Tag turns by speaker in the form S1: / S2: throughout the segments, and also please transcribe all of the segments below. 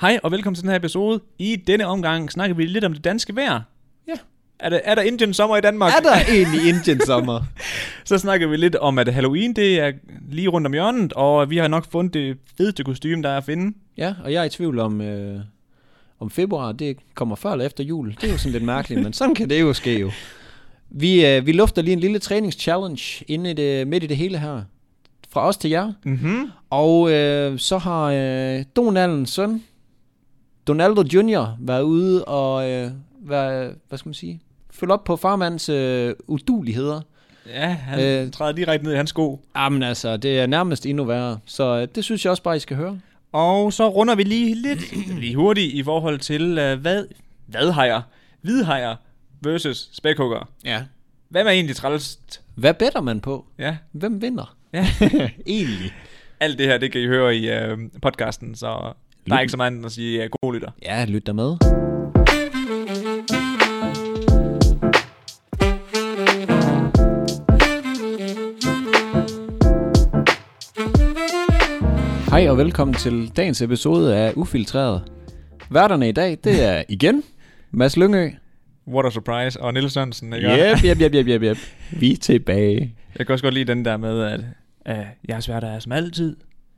S1: Hej og velkommen til den her episode. I denne omgang snakker vi lidt om det danske vejr.
S2: Ja.
S1: Er der, er der Indian sommer i Danmark?
S2: Er der egentlig Indian sommer?
S1: Så snakker vi lidt om, at Halloween det er lige rundt om hjørnet, og vi har nok fundet det fedeste kostume, der er at finde.
S2: ja, og jeg er i tvivl om, øh, om februar, det kommer før eller efter jul. Det er jo sådan lidt mærkeligt, men sådan kan det jo ske jo. Vi, øh, vi lufter lige en lille træningschallenge inde i det, midt i det hele her. Fra os til jer.
S1: Mm-hmm.
S2: Og øh, så har øh, Donaldens søn, Donaldo Jr., været ude og, øh, hvad, hvad skal man sige, følge op på farmandens øh, uduligheder.
S1: Ja, han øh.
S2: Øh.
S1: træder direkte ned i hans sko.
S2: Jamen altså, det er nærmest endnu værre. Så øh, det synes jeg også bare, I skal høre.
S1: Og så runder vi lige lidt lige hurtigt i forhold til, øh, hvad, hvad hajer, hvidhajer versus spækhugger.
S2: Ja.
S1: Hvad er egentlig trælst?
S2: Hvad better man på?
S1: Ja,
S2: Hvem vinder?
S1: Ja.
S2: Egentlig.
S1: alt det her, det kan I høre i øh, podcasten, så der er ikke så meget andet at sige øh, god lytter.
S2: Ja, lyt da med. Hej og velkommen til dagens episode af Ufiltreret. Værterne i dag, det er igen Mads Lyngø.
S1: What a surprise, og Niels Sørensen, ikke?
S2: Yep, yep, yep, yep, yep, yep. Vi er tilbage.
S1: Jeg kan også godt lide den der med, at øh, jeg er svært der er som altid.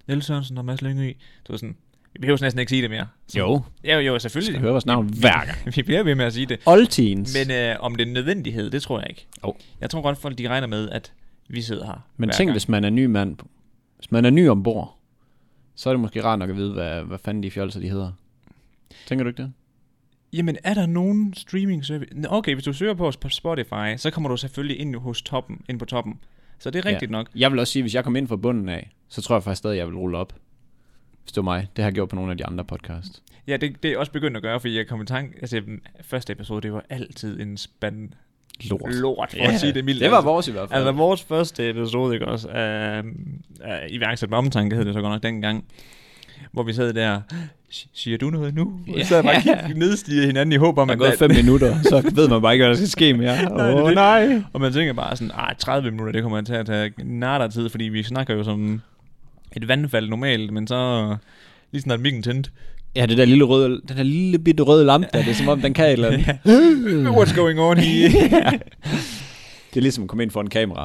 S1: Niels Sørensen og Mads Lyngø. Så sådan, vi behøver næsten ikke sige det mere. Så,
S2: Jo,
S1: Ja, jo,
S2: jeg
S1: selvfølgelig.
S2: hører vores navn hver gang.
S1: Vi bliver ved med at sige det.
S2: Oldteens.
S1: Men øh, om det er en nødvendighed, det tror jeg ikke.
S2: Jo.
S1: Jeg tror godt, folk de regner med, at vi sidder her.
S2: Men
S1: hver
S2: tænk,
S1: gang.
S2: hvis man er ny mand. Hvis man er ny ombord, så er det måske rart nok at vide, hvad, hvad fanden de fjolser, de hedder. Tænker du ikke det?
S1: Jamen, er der nogen streaming service? Nå, Okay, hvis du søger på os på Spotify, så kommer du selvfølgelig ind hos toppen, ind på toppen. Så det er rigtigt ja. nok.
S2: Jeg vil også sige, hvis jeg kom ind fra bunden af, så tror jeg faktisk stadig, jeg vil rulle op. Hvis det var mig. Det har jeg gjort på nogle af de andre podcasts.
S1: Ja, det, det er også begyndt at gøre, fordi jeg kom i tanke... Altså, den første episode, det var altid en spand
S2: Lort.
S1: lort, for ja, at sige det mildt.
S2: det var vores i hvert fald.
S1: Altså vores første episode, ikke også, af, af iværksat med omtanke, hed det så godt nok dengang, hvor vi sad der, "Si- siger du noget nu? Og
S2: Ja.
S1: så sad bare og nedstigede hinanden i håb om,
S2: der er
S1: at
S2: gået
S1: man,
S2: fem minutter, så ved man bare ikke, hvad der skal ske mere.
S1: Nej, det er
S2: Åh oh,
S1: det.
S2: nej.
S1: og man tænker bare sådan, ah, 30 minutter, det kommer til at tage natter tid, fordi vi snakker jo som et vandfald normalt, men så lige snart mikken tændt.
S2: Ja, det der lille røde, den der lille bitte røde lampe, der, det er som om, den kan et eller andet.
S1: What's going on here?
S2: Det er ligesom at komme ind for en kamera.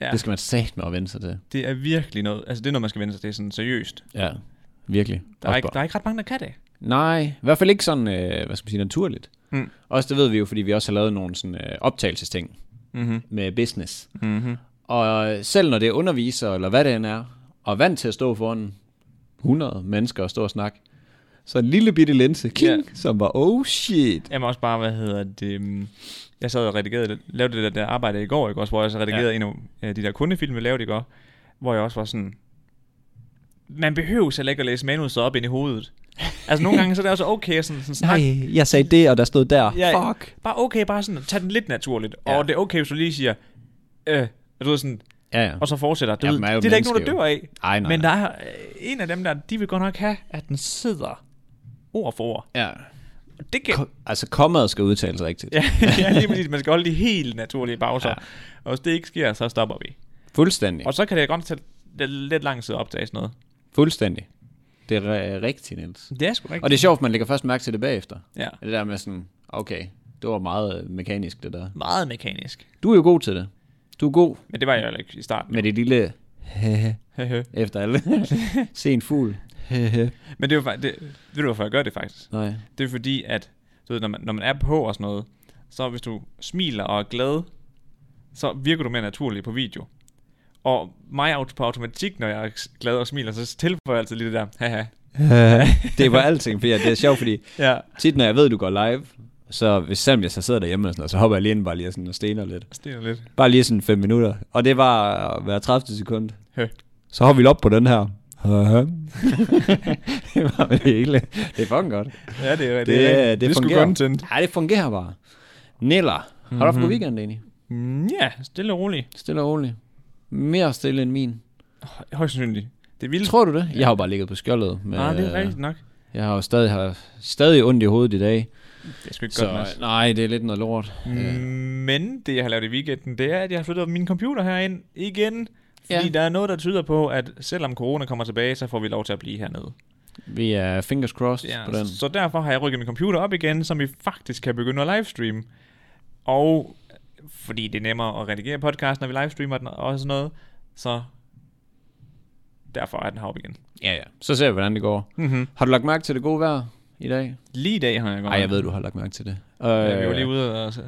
S1: Ja.
S2: Ja. Det skal man satme med at vende sig til.
S1: det er virkelig noget, altså det er noget, man skal vende sig til sådan seriøst.
S2: Ja, virkelig.
S1: Der er,
S2: Også
S1: ikke, der er ikke ret mange, der kan det.
S2: Nej, i hvert fald ikke sådan, øh, hvad skal man sige, naturligt.
S1: Mm.
S2: Også det ved vi jo, fordi vi også har lavet nogle sådan, øh, optagelsesting
S1: Mhm.
S2: med business.
S1: Mm-hmm.
S2: Og øh, selv når det er underviser, eller hvad det end er, og vant til at stå foran 100 mennesker og stå og snakke, så en lille bitte linse, kling, yeah. som var, oh shit.
S1: Jamen også bare, hvad hedder det... mm, Jeg sad og redigerede, lavede det der, der arbejde i går, ikke også, hvor jeg så redigerede ja. en af øh, de der kundefilm, vi lavede i går, hvor jeg også var sådan... Man behøver selv ikke at læse manuset op ind i hovedet. Altså nogle gange, så er det også okay at sådan, sådan snakke.
S2: Nej, jeg sagde det, og der stod der.
S1: Ja.
S2: Fuck.
S1: Bare okay, bare sådan, tag den lidt naturligt. Ja.
S2: Ja.
S1: Og det er okay, hvis du lige siger, øh, og du ved sådan,
S2: Ja, ja.
S1: og så fortsætter. Du
S2: Ja,
S1: ved,
S2: man
S1: det
S2: er jo
S1: er der ikke nogen, der
S2: menneske jo.
S1: dør af.
S2: Ej, nej,
S1: Men
S2: nej.
S1: der er øh, en af dem der, de vil godt nok have, at den sidder ord for ord.
S2: Ja.
S1: Og det kan,
S2: Ko- altså, kommaet skal udtales rigtigt.
S1: Ja, ja, lige præcis. Man skal holde de helt naturlige pauser. Ja. Og hvis det ikke sker, så stopper vi.
S2: Fuldstændig.
S1: Og så kan det godt tage lidt, lidt lang tid at optage sådan noget.
S2: Fuldstændig. Det er re- rigtigt, Niels.
S1: Det er sgu rigtigt.
S2: Og det er sjovt, man lægger først mærke til det bagefter.
S1: Ja.
S2: Det der med sådan, okay, det var meget øh, mekanisk det der.
S1: Meget mekanisk.
S2: Du er jo god til det. Du er god
S1: Men det var jeg jo ikke i starten.
S2: med det lille efter alle. Se en fugl.
S1: Men det var faktisk... Det, ved du, hvorfor jeg gør det faktisk?
S2: Nej.
S1: Det er fordi, at du ved, når, man, når man er på og sådan noget, så hvis du smiler og er glad, så virker du mere naturlig på video. Og mig aut- på automatik, når jeg er glad og smiler, så tilføjer jeg altid lige det der, haha.
S2: det var alting, for jeg- det er sjovt, fordi
S1: Ja.
S2: tit når jeg ved, du går live, så hvis selvom jeg så sidder derhjemme og sådan noget, så hopper jeg lige ind bare lige og sådan og stener lidt.
S1: Stener lidt.
S2: Bare lige sådan 5 minutter. Og det var øh, hver 30 sekund.
S1: Hø.
S2: Så hopper vi op på den her. det var det hele. Det er fucking godt.
S1: Ja, det er
S2: Det,
S1: er rigtigt.
S2: det, det
S1: sgu
S2: fungerer.
S1: content.
S2: Nej, det fungerer bare. Niller, har du haft en god weekend egentlig?
S1: Mm, ja, stille og roligt.
S2: Stille og roligt. Mere stille end min.
S1: Højst sandsynligt. Det ville
S2: Tror du det? Jeg har jo bare ligget på skjoldet. Men,
S1: Nej, Ah, det
S2: øh,
S1: er rigtigt nok.
S2: Jeg har jo stadig, har stadig ondt i hovedet i dag.
S1: Det er sgu ikke så,
S2: Så
S1: godt, Mads.
S2: nej, det er lidt noget lort. Mm.
S1: Men det, jeg har lavet i weekenden, det er, at jeg har flyttet min computer herind igen. Fordi ja.
S2: Ja.
S1: der er noget, der tyder på, at selvom corona kommer tilbage, så får vi lov til at blive hernede.
S2: Vi er fingers crossed
S1: Ja,
S2: på den.
S1: så derfor har jeg rykket min computer op igen, som vi faktisk kan begynde at livestreame. Og fordi det er nemmere at redigere podcast, når vi livestreamer den og sådan noget, så derfor er den heroppe igen.
S2: Ja, ja. Så ser vi, hvordan det går.
S1: Mm-hmm.
S2: Har du lagt mærke til det gode vejr i dag?
S1: Lige i dag har jeg godt.
S2: Nej, jeg ved, du har lagt mærke til det. Øh,
S1: Øh, vi var lige ude og s-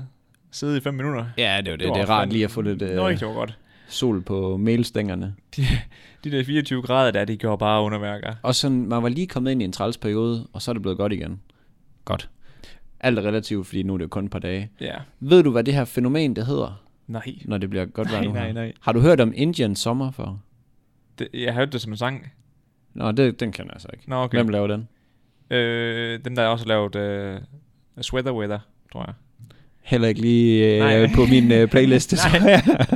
S1: sidde i fem minutter.
S2: Ja, det er jo det.
S1: var
S2: Det er
S1: fandme-
S2: rart lige at få lidt
S1: Det var
S2: øh,
S1: ikke, det var godt.
S2: sol på mailstængerne.
S1: De der 24 grader der, de gjorde bare underværker.
S2: Og sådan, man var lige kommet ind i en træls periode, og så er det blevet godt igen. Godt. Alt er relativt, fordi nu er det jo kun et par dage.
S1: Ja.
S2: Ved du, hvad det her fænomen, det hedder,
S1: Nej.
S2: når det bliver godt vejr
S1: Nej,
S2: nu?
S1: nej,
S2: her?
S1: nej.
S2: Har du hørt om Indian sommer for?
S1: Det, jeg har hørt det som en sang.
S2: Nå, det, den kan jeg altså ikke.
S1: Nå, okay.
S2: Hvem laver den?
S1: Øh, dem, der har også lavet øh, Sweater Weather, tror jeg.
S2: Heller ikke lige øh,
S1: Nej.
S2: på min øh, playlist, det tror jeg.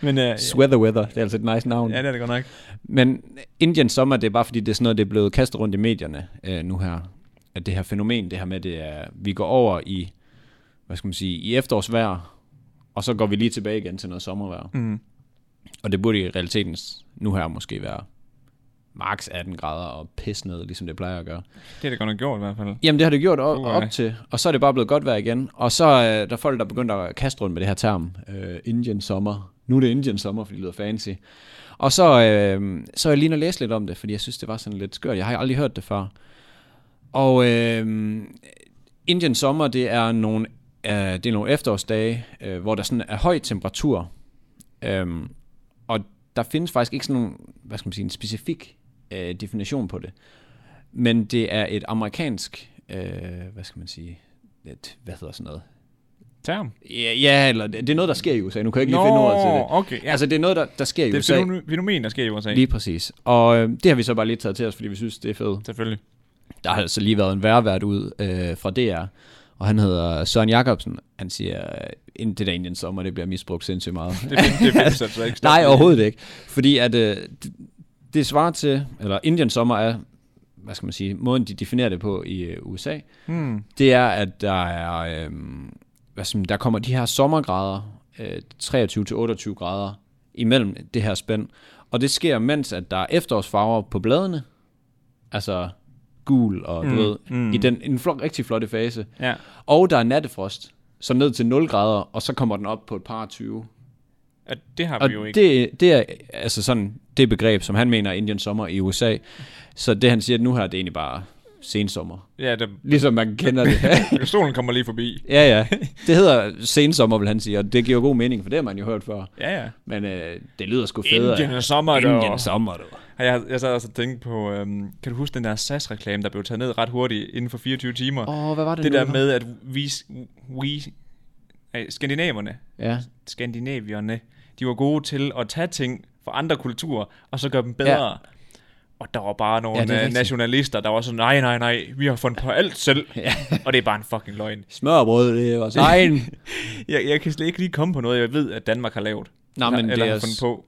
S1: Men øh,
S2: Sweater Weather, det er altså et nice navn.
S1: ja, det er det godt nok.
S2: Men Indian sommer, det er bare fordi, det er sådan noget, det er blevet kastet rundt i medierne øh, nu her. At det her fænomen, det her med, det er, vi går over i, hvad skal man sige, i efterårsvejr, og så går vi lige tilbage igen til noget sommervejr.
S1: Mm.
S2: Og det burde i realiteten nu her måske være max 18 grader og pis ned, ligesom det plejer at gøre.
S1: Det er det godt nok gjort i hvert fald.
S2: Jamen det har det gjort op,
S1: Uha.
S2: op til, og så er det bare blevet godt vejr igen. Og så øh, der er folk, der begynder at kaste rundt med det her term, øh, Indian sommer. Nu er det Indian sommer, fordi det lyder fancy. Og så, øh, så er jeg lige at læse lidt om det, fordi jeg synes, det var sådan lidt skørt. Jeg har aldrig hørt det før. Og øh, Indian sommer, det er nogle, øh, det er nogle efterårsdage, øh, hvor der sådan er høj temperatur. Øh, og der findes faktisk ikke sådan nogen, hvad skal man sige, en specifik øh, definition på det. Men det er et amerikansk, øh, hvad skal man sige, et, hvad hedder sådan noget?
S1: Term.
S2: Ja, ja eller det, det er noget, der sker i USA. Nu kan jeg ikke lige finde ordet til det.
S1: okay. Ja.
S2: Ja. Altså, det er noget, der, der sker i
S1: det er et
S2: USA.
S1: fænomen- fænomen, der sker i USA.
S2: Lige præcis. Og øh, det har vi så bare lige taget til os, fordi vi synes, det er fedt.
S1: Selvfølgelig.
S2: Der har altså lige været en værvært ud øh, fra DR, og han hedder Søren Jacobsen. Han siger, øh, det der Indian sommer, det bliver misbrugt sindssygt meget.
S1: Det findes, det findes altså ikke.
S2: Nej, overhovedet ikke. Fordi at øh, det, det svarer til, eller Indian sommer er, hvad skal man sige, måden de definerer det på i øh, USA,
S1: Hmm.
S2: det er, at der er, øh, hvad skal man, der kommer de her sommergrader, øh, 23-28 grader, imellem det her spænd. Og det sker, mens at der er efterårsfarver på bladene, altså gul og mm,
S1: Mm,
S2: blød,
S1: mm.
S2: mm. i den en flot, rigtig flotte fase.
S1: Ja.
S2: Og der er nattefrost, så ned til 0 grader, og så kommer den op på et par 20.
S1: Og det har
S2: Og
S1: vi jo ikke.
S2: det, det er altså sådan det begreb, som han mener er Indian sommer i USA. Så det han siger nu her, det er egentlig bare sensommer.
S1: Ja, det,
S2: Ligesom man kender det.
S1: solen kommer lige forbi.
S2: ja, ja. Det hedder sensommer, vil han sige, og det giver jo god mening, for det har man jo hørt før.
S1: Ja, ja.
S2: Men øh, det lyder sgu federe.
S1: Indian sommer,
S2: Indian
S1: dog.
S2: sommer, du.
S1: Ej, Jeg, jeg sad også og tænkte på, øhm, kan du huske den der SAS-reklame, der blev taget ned ret hurtigt inden for 24 timer?
S2: Åh, oh, hvad var det
S1: det
S2: nu,
S1: der
S2: var?
S1: med, at vi, vi øh, skandinaverne,
S2: Ja.
S1: skandinavierne, de var gode til at tage ting fra andre kulturer, og så gøre dem bedre. Ja. Og der var bare
S2: Ja,
S1: nogle
S2: det er
S1: ja,
S2: rigtigt.
S1: nationalister, der var sådan, nej, nej, nej, vi har fundet på alt selv.
S2: Ja.
S1: og det er bare en fucking løgn.
S2: Smørbrød, det var egen.
S1: Jeg, jeg kan slet ikke lige komme på noget, jeg ved, at Danmark har lavet.
S2: Nå, men
S1: eller,
S2: det
S1: eller
S2: er...
S1: har fundet på.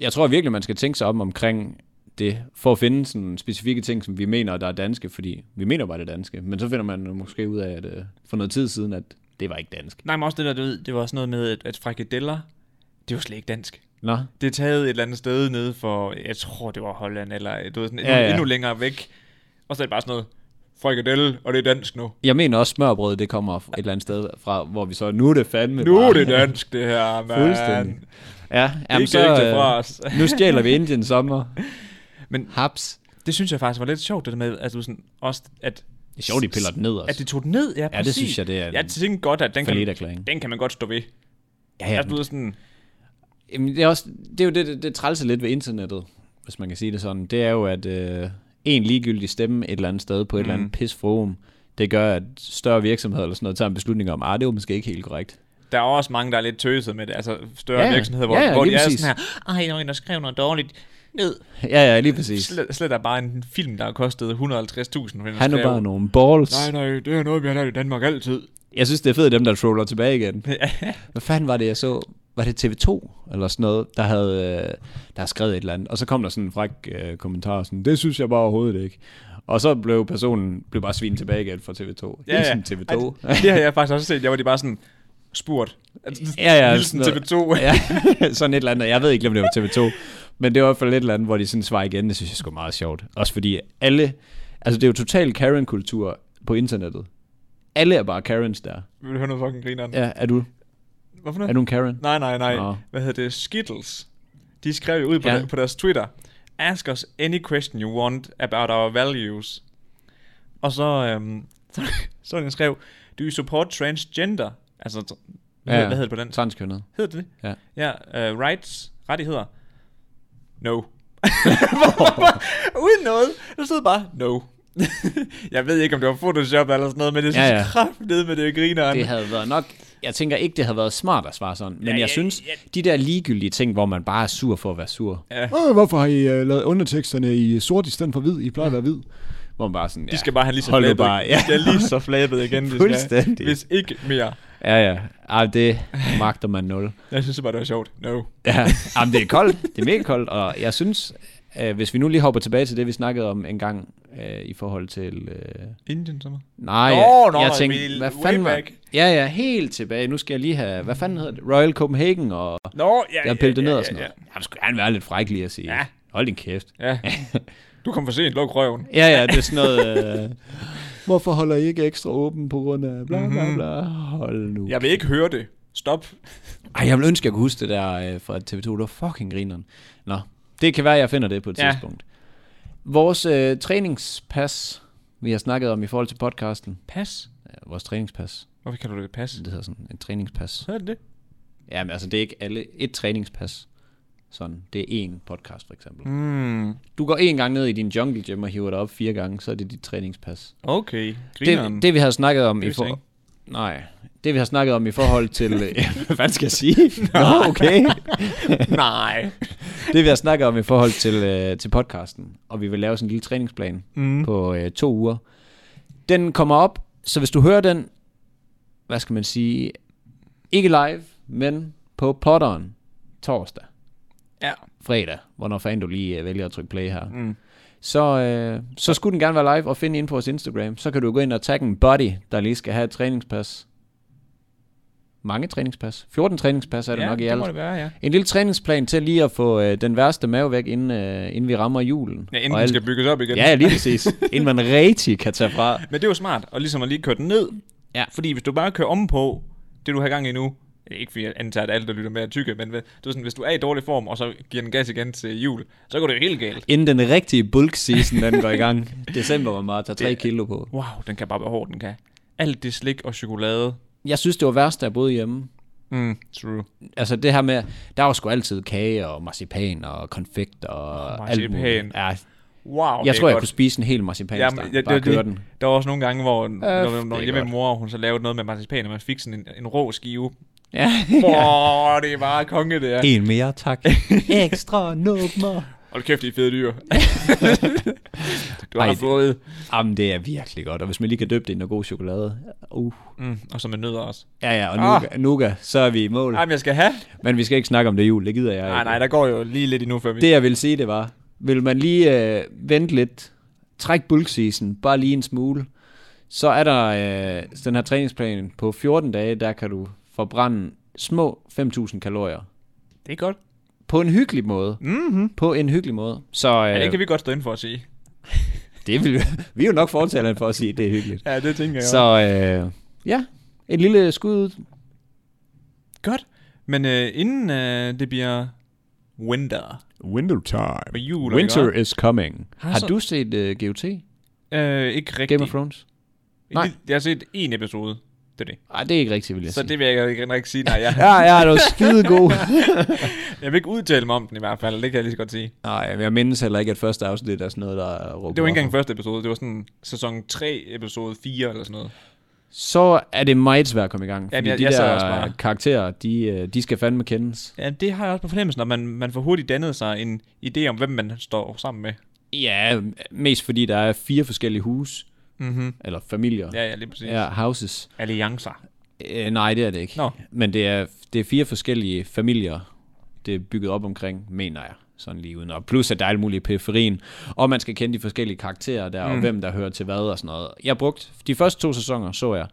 S2: Jeg tror virkelig, man skal tænke sig om omkring det, for at finde sådan specifikke ting, som vi mener, der er danske, fordi vi mener bare, det er danske, men så finder man måske ud af, at øh, for noget tid siden, at det var ikke dansk.
S1: Nej, men også det der, du ved, det var også noget med, at, at frikadeller, det var slet ikke dansk.
S2: Nå,
S1: Det er taget et eller andet sted nede for, jeg tror det var Holland, eller du ved, sådan,
S2: Ja,
S1: endnu, ja,
S2: ja.
S1: ja. endnu længere væk. Og så er det bare sådan noget, frikadelle, og det er dansk nu.
S2: jeg mener også, smørbrød, det kommer et eller andet sted fra, hvor vi så, nu er det fandme
S1: Nu er
S2: bare-
S1: det dansk, det her, mand.
S2: Fuldstændig. Øh, Ja, jamen,
S1: Jamen,
S2: så,
S1: så, ikke det fra
S2: øh,
S1: os.
S2: nu stjæler vi Indien sommer.
S1: Men-
S2: Haps.
S1: Det synes jeg faktisk var lidt sjovt, det der med, at du sådan, også, at,
S2: Det er sjovt, de piller den ned også.
S1: at de tog den ned. Ja,
S2: ja, det synes jeg, det er en
S1: Jeg tænkte godt, at den kan,
S2: forlitterklæring.
S1: den kan man godt stå ved.
S2: Ja,
S1: Ja,
S2: ja,
S1: altså, du ved sådan,
S2: Jamen, det er, også, det er jo det, det, det trælse lidt ved internettet, hvis man kan sige det sådan. Det er jo, at øh, en ligegyldig stemme et eller andet sted på et mm. eller andet pisforum, det gør, at større virksomheder eller sådan noget tager en beslutning om, at det er jo måske ikke helt korrekt.
S1: der er også mange, der er lidt tøset med det. Altså større
S2: Ja,
S1: ja, virksomheder, hvor,
S2: ja, ja,
S1: hvor de
S2: lige
S1: er
S2: præcis.
S1: sådan her, ej, der var en, der skrev noget dårligt ned.
S2: ja, ja, lige præcis.
S1: Slet, slet er bare en film, der har kostet 150.000.
S2: Han
S1: Han
S2: er bare nogle balls.
S1: Nej, nej, det er noget, vi har lært i Danmark altid.
S2: Jeg synes, det er fedt, at dem der troller tilbage igen. Hvad fanden var det, jeg så? Var det TV2 eller sådan noget, der havde, øh, der havde skrevet et eller andet? Og så kom der sådan en fræk øh, kommentar, sådan, det synes jeg bare overhovedet ikke. Og så blev personen blev bare svinet tilbage igen fra TV2. Ja, ja. TV2.
S1: Ej, det, det har jeg faktisk også set. Jeg var de bare sådan spurgt. Altså,
S2: Ja, ja,
S1: Hilsen
S2: sådan
S1: TV2.
S2: ja, sådan et eller andet. Jeg ved ikke, om det var TV2. Men det var i hvert fald et eller andet, hvor de sådan svarer igen. Det synes jeg sgu er meget sjovt. Også fordi alle, Altså, det er jo total Karen-kultur på internettet. Alle er bare Karens der.
S1: Vil du høre noget fucking grineren?
S2: Ja, er du,
S1: Hvorfor
S2: er
S1: noget?
S2: du en Karen?
S1: Nej, nej, nej.
S2: Nå.
S1: Hvad hedder det? Skittles. De skrev jo ud på,
S2: Ja.
S1: ja. der, på deres Twitter. Ask us any question you want about our values. Og så, øhm, så, så den skrev, do you support transgender? Altså, tr- hvad,
S2: Ja.
S1: ja. hvad hedder det på den?
S2: Transkønnet.
S1: Hedder det det? Ja. ja uh, rights, rettigheder. No. Uden noget. Der stod bare, no. jeg ved ikke, om det var Photoshop eller sådan noget, men jeg
S2: Ja,
S1: synes ja,
S2: ja.
S1: ja. kraftedeme, med det er grineren.
S2: Det havde været nok... Jeg tænker ikke, det havde været smart at svare sådan. Men ja,
S1: Ja,
S2: jeg,
S1: ja,
S2: synes,
S1: ja.
S2: de der ligegyldige ting, hvor man bare er sur for at være sur.
S1: Ja.
S2: Øh, hvorfor har I uh, lavet underteksterne i sort i stedet for hvid? I plejer at være hvid. Hvor man bare sådan, ja.
S1: De skal bare have lige så
S2: Hold nu
S1: flabet.
S2: bare, ja.
S1: De skal lige så flabet igen. de skal.
S2: Fuldstændig.
S1: Hvis ikke mere.
S2: Ja, ja. Ej, det magter man nul.
S1: Jeg synes bare, det var sjovt. No.
S2: Ja, Jamen, det er koldt. Det er mega koldt, og jeg synes, øh, hvis vi nu lige hopper tilbage til det, vi snakkede om en gang øh, i forhold til... Øh,
S1: Indien sommer.
S2: nej,
S1: Nå,
S2: jeg,
S1: nå,
S2: jeg
S1: vi
S2: tænkte,
S1: er
S2: hvad
S1: way
S2: fanden var...
S1: back.
S2: Ja, ja, helt tilbage. Nu skal jeg lige have... Hvad fanden hedder det? Royal Copenhagen, og
S1: Nå, ja,
S2: jeg pillede ned og sådan
S1: ja,
S2: noget. Ja, du skulle gerne være lidt fræk lige at sige.
S1: Ja.
S2: Hold din kæft.
S1: ja. ja. Du kom for sent. Luk røven.
S2: Ja, ja, det er sådan noget... Øh, Hvorfor holder I ikke ekstra åben på grund af bla bla bla? Hold nu.
S1: Jeg vil ikke høre det. Stop.
S2: Mhm. Ej, jeg ville ønske, jeg kunne huske det der øh, fra TV2. Det var fucking grineren. Nå, det kan være, jeg finder det på et ja.
S1: Ja.
S2: tidspunkt. Vores øh, træningspas, vi har snakket om i forhold til podcasten.
S1: Pas.
S2: Ja, vores træningspas.
S1: Hvorfor kalder du det pas?
S2: Det hedder sådan et træningspas.
S1: Så er det det.
S2: Jamen altså, det er ikke alle. Et træningspas. Sådan, det er én podcast for eksempel.
S1: Mm.
S2: Du går én gang ned i din jungle gym og hiver dig op fire gange, så er det dit træningspas.
S1: Okay. Grineren.
S2: Det, det, vi har snakket om i
S1: vidste jeg
S2: for... Nej, det vi har snakket om i forhold til... Hvad skal jeg sige? Nå, okay.
S1: Nej.
S2: det vi har snakket om i forhold til, øh, til podcasten, og vi vil lave sådan en lille træningsplan mm. på øh, to uger. Den kommer op, så hvis du hører den, hvad skal man sige, ikke live, men på podderen torsdag,
S1: Ja.
S2: fredag, hvornår fanden du lige øh, vælger at trykke play her,
S1: Mm.
S2: så, øh, så skulle den gerne være live og finde ind på vores Instagram. Så kan du gå ind og tagge en buddy, der lige skal have et træningspas. Mange træningspas. 14 træningspas er det
S1: ja,
S2: nok i
S1: det
S2: alt.
S1: må det være, ja.
S2: En lille træningsplan til lige at få øh, den værste mave væk, inden, øh, inden vi rammer julen.
S1: Ja, inden
S2: Og
S1: den
S2: alt-
S1: skal bygges op igen.
S2: Ja, lige præcis. inden man rigtig kan tage fra.
S1: Men det er jo smart, og ligesom at lige køre den ned.
S2: Ja.
S1: Fordi hvis du bare kører om på det, du har gang i nu, ikke fordi jeg antager, at alle, der lytter med, er tykke, men ved- du er sådan, hvis du er i dårlig form, og så giver den gas igen til jul, så går det jo helt galt.
S2: Inden den rigtige bulk season, den går i gang. December var meget, tager 3 kilo på.
S1: Wow, den kan bare være hård, den kan. Alt det slik og chokolade.
S2: Jeg synes, det var værst, da jeg boede hjemme.
S1: Mm, true.
S2: Altså det her med, der var sgu altid kage og marcipan og konfekt og oh, alt muligt.
S1: marcipan.
S2: Ja, jeg
S1: Wow, det er
S2: tror, jeg
S1: godt.
S2: kunne spise en hel marcipan
S1: Jamen,
S2: Jamen,
S1: ja, det
S2: bare
S1: er
S2: køre
S1: det.
S2: den. Øh,
S1: Der var også nogle gange, hvor når,
S2: det
S1: når
S2: er
S1: hjemme
S2: godt.
S1: med mor, hun så lavede noget med marcipan, og man fik sådan en, en rå skive.
S2: Ja.
S1: Åh, det er bare konge, det er.
S2: En mere, tak. Ekstra nummer.
S1: Hold kæft, de er fede dyr. du har
S2: Ej,
S1: Ej,
S2: det-
S1: både...
S2: Jamen, det er virkelig godt. Og hvis man lige kan døbe det i noget god chokolade. Uh.
S1: Mm, og så med nødder også.
S2: Ja, ja, og
S1: Ah.
S2: nuga, ah. nuga, så er vi i mål.
S1: Ej, men jeg skal have.
S2: Men vi skal ikke snakke om det jul, det gider jeg
S1: Nej,
S2: ikke.
S1: nej, der går jo lige lidt endnu, før vi...
S2: Det jeg ville sige, det var, vil man lige øh, vente lidt, træk bulk season, bare lige en smule, så er der øh, den her træningsplan på 14 dage, der kan du forbrænde små 5.000 kalorier.
S1: det er godt.
S2: På en hyggelig måde.
S1: Mm-hmm.
S2: På en hyggelig måde. Så øh,
S1: Ja, det kan vi godt stå ind for at sige.
S2: det vil, vi er jo nok fortaleren for at sige, at det er hyggeligt.
S1: Ja, det tænker jeg
S2: Så øh, ja, et lille skud.
S1: Godt. Men øh, inden øh, det bliver winter
S2: Winter time.
S1: og jul,
S2: Winter
S1: Ikke?
S2: is coming.
S1: Har
S2: Har
S1: så-
S2: du set øh, GOT?
S1: Øh, ikke rigtigt.
S2: Game of Thrones? Nej.
S1: Nej. Jeg har set en episode. Det er det.
S2: Nej, det er ikke rigtigt, vil jeg
S1: Så
S2: sige.
S1: det vil jeg ikke rigtig sige. Nej, jeg,
S2: Ja, ja, det var skide god.
S1: jeg vil ikke udtale mig om den i hvert fald. Det kan jeg lige så godt sige.
S2: Nej, men jeg mindes heller ikke, at første afsnit er sådan noget, der er råbt
S1: Det var ikke
S2: op.
S1: engang første episode. Det var sådan sæson 3, episode 4 eller sådan noget.
S2: Så er det meget svært at komme i gang. Fordi
S1: Jamen, jeg-
S2: de
S1: jeg sad også
S2: der
S1: bare-
S2: karakterer, de, øh, de skal fandme kendes.
S1: Ja, det har jeg også på fornemmelsen, at man, man får hurtigt dannet sig en idé om, hvem man står sammen med.
S2: Ja, mest fordi der er fire forskellige hus,
S1: Mm-hmm.
S2: eller familier.
S1: Ja, ja, lige præcis. Ja.
S2: Ja, houses.
S1: Alliancer.
S2: Øh, nej, det er det ikke.
S1: Nå.
S2: Men det er, det er fire forskellige familier, det er bygget op omkring, mener jeg. Sådan lige uden. Og plus, at der er alt muligt i periferien. Og man skal kende de forskellige karakterer der, mm. og hvem der hører til hvad og sådan noget. Jeg brugte de første to sæsoner, så jeg.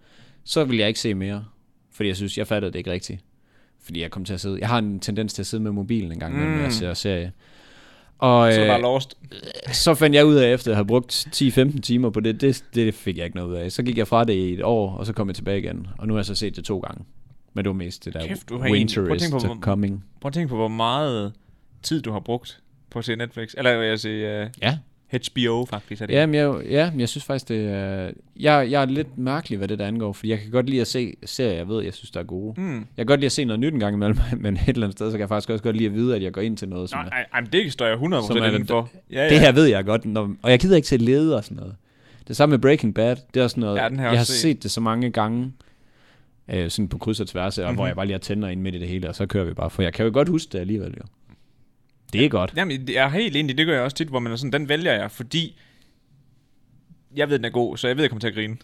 S2: Så ville jeg ikke se mere. Fordi jeg synes, jeg fattede det ikke rigtigt. Fordi jeg kom til at sidde... Jeg har en tendens til at sidde med mobilen en gang, mm. når jeg ser serie. Og
S1: Så er
S2: øh,
S1: det bare lost.
S2: så fandt jeg ud af, efter at have brugt 10-15 timer på det, det, det fik jeg ikke noget ud af. Så gik jeg fra det i et år, og så kom jeg tilbage igen. Og nu har jeg så set det to gange. Men det var mest det der
S1: Kæft, du har egentlig-
S2: winter
S1: prøv at
S2: is
S1: tænke på,
S2: to
S1: hvor-
S2: coming.
S1: Prøv at tænke på, hvor meget tid du har brugt på at se Netflix. Eller jeg vil sige,
S2: Ja,
S1: uh, HBO faktisk er det.
S2: Ja, men jeg, ja, men jeg synes faktisk, det er... Jeg, jeg er lidt mærkelig, hvad det der angår, fordi jeg kan godt lide at se serier, jeg ved, jeg synes, der er gode.
S1: Mm.
S2: Jeg kan godt lide at se noget nyt en gang imellem, men et eller andet sted, så kan jeg faktisk også godt lide at vide, at jeg går ind til noget, som
S1: Nej,
S2: er,
S1: ej, ej, men det står jeg 100%
S2: Som er-
S1: inden for. Ja, ja.
S2: det her ved jeg godt, når, og jeg gider ikke se leder og sådan noget. Det samme med Breaking Bad, det er også noget,
S1: Ja, den har jeg
S2: jeg har
S1: også
S2: set.
S1: set.
S2: det så mange gange, øh, sådan på kryds og tværs, mm-hmm. og
S1: Mhm.
S2: hvor jeg bare lige har tænder ind midt i det hele, og så kører vi bare, for jeg kan jo godt huske det alligevel, jo. Det er godt.
S1: Jamen, jeg er helt enig, det gør jeg også tit, hvor man er sådan, den vælger jeg, fordi jeg ved, den er god, så jeg ved, jeg kommer til at grine.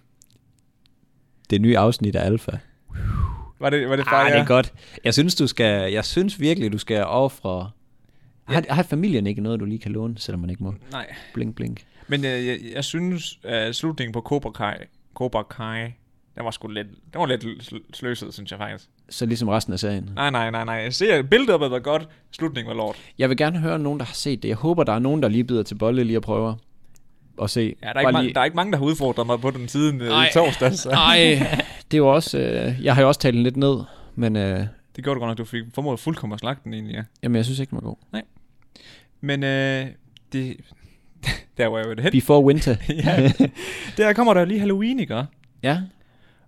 S2: Det nye afsnit af Alfa.
S1: Var det, var det
S2: Ah,
S1: bare,
S2: det er
S1: jeg?
S2: godt. Jeg synes, du skal, jeg synes virkelig, du skal ofre... Har, har familien ikke noget, du lige kan låne, selvom man ikke må?
S1: Nej.
S2: Blink, blink.
S1: Men øh, jeg, jeg synes, at slutningen på Cobra Kai, Cobra Kai, den var sgu lidt, den var lidt sl- sløset, synes jeg faktisk.
S2: Så ligesom resten af serien.
S1: Nej, nej, nej, nej. Jeg ser, build-up'et var godt, slutningen var lort.
S2: Jeg vil gerne høre nogen, der har set det. Jeg håber, der er nogen, der lige bider til bolle lige og prøver at se.
S1: Ja, der er, ikke mange, der er ikke mange, der har udfordret mig på den siden øh, i torsdags.
S2: Nej, det er jo også... Øh, jeg har jo også talt den lidt ned, men øh,
S1: Det gjorde du godt nok, du fik formodet fuldkommen at slagte den egentlig, ja.
S2: jamen, jeg synes ikke, den var god.
S1: Men øh, det, der var jeg jo det hen.
S2: Before Winter.
S1: ja. Der kommer der lige Halloween, ikke?
S2: Ja.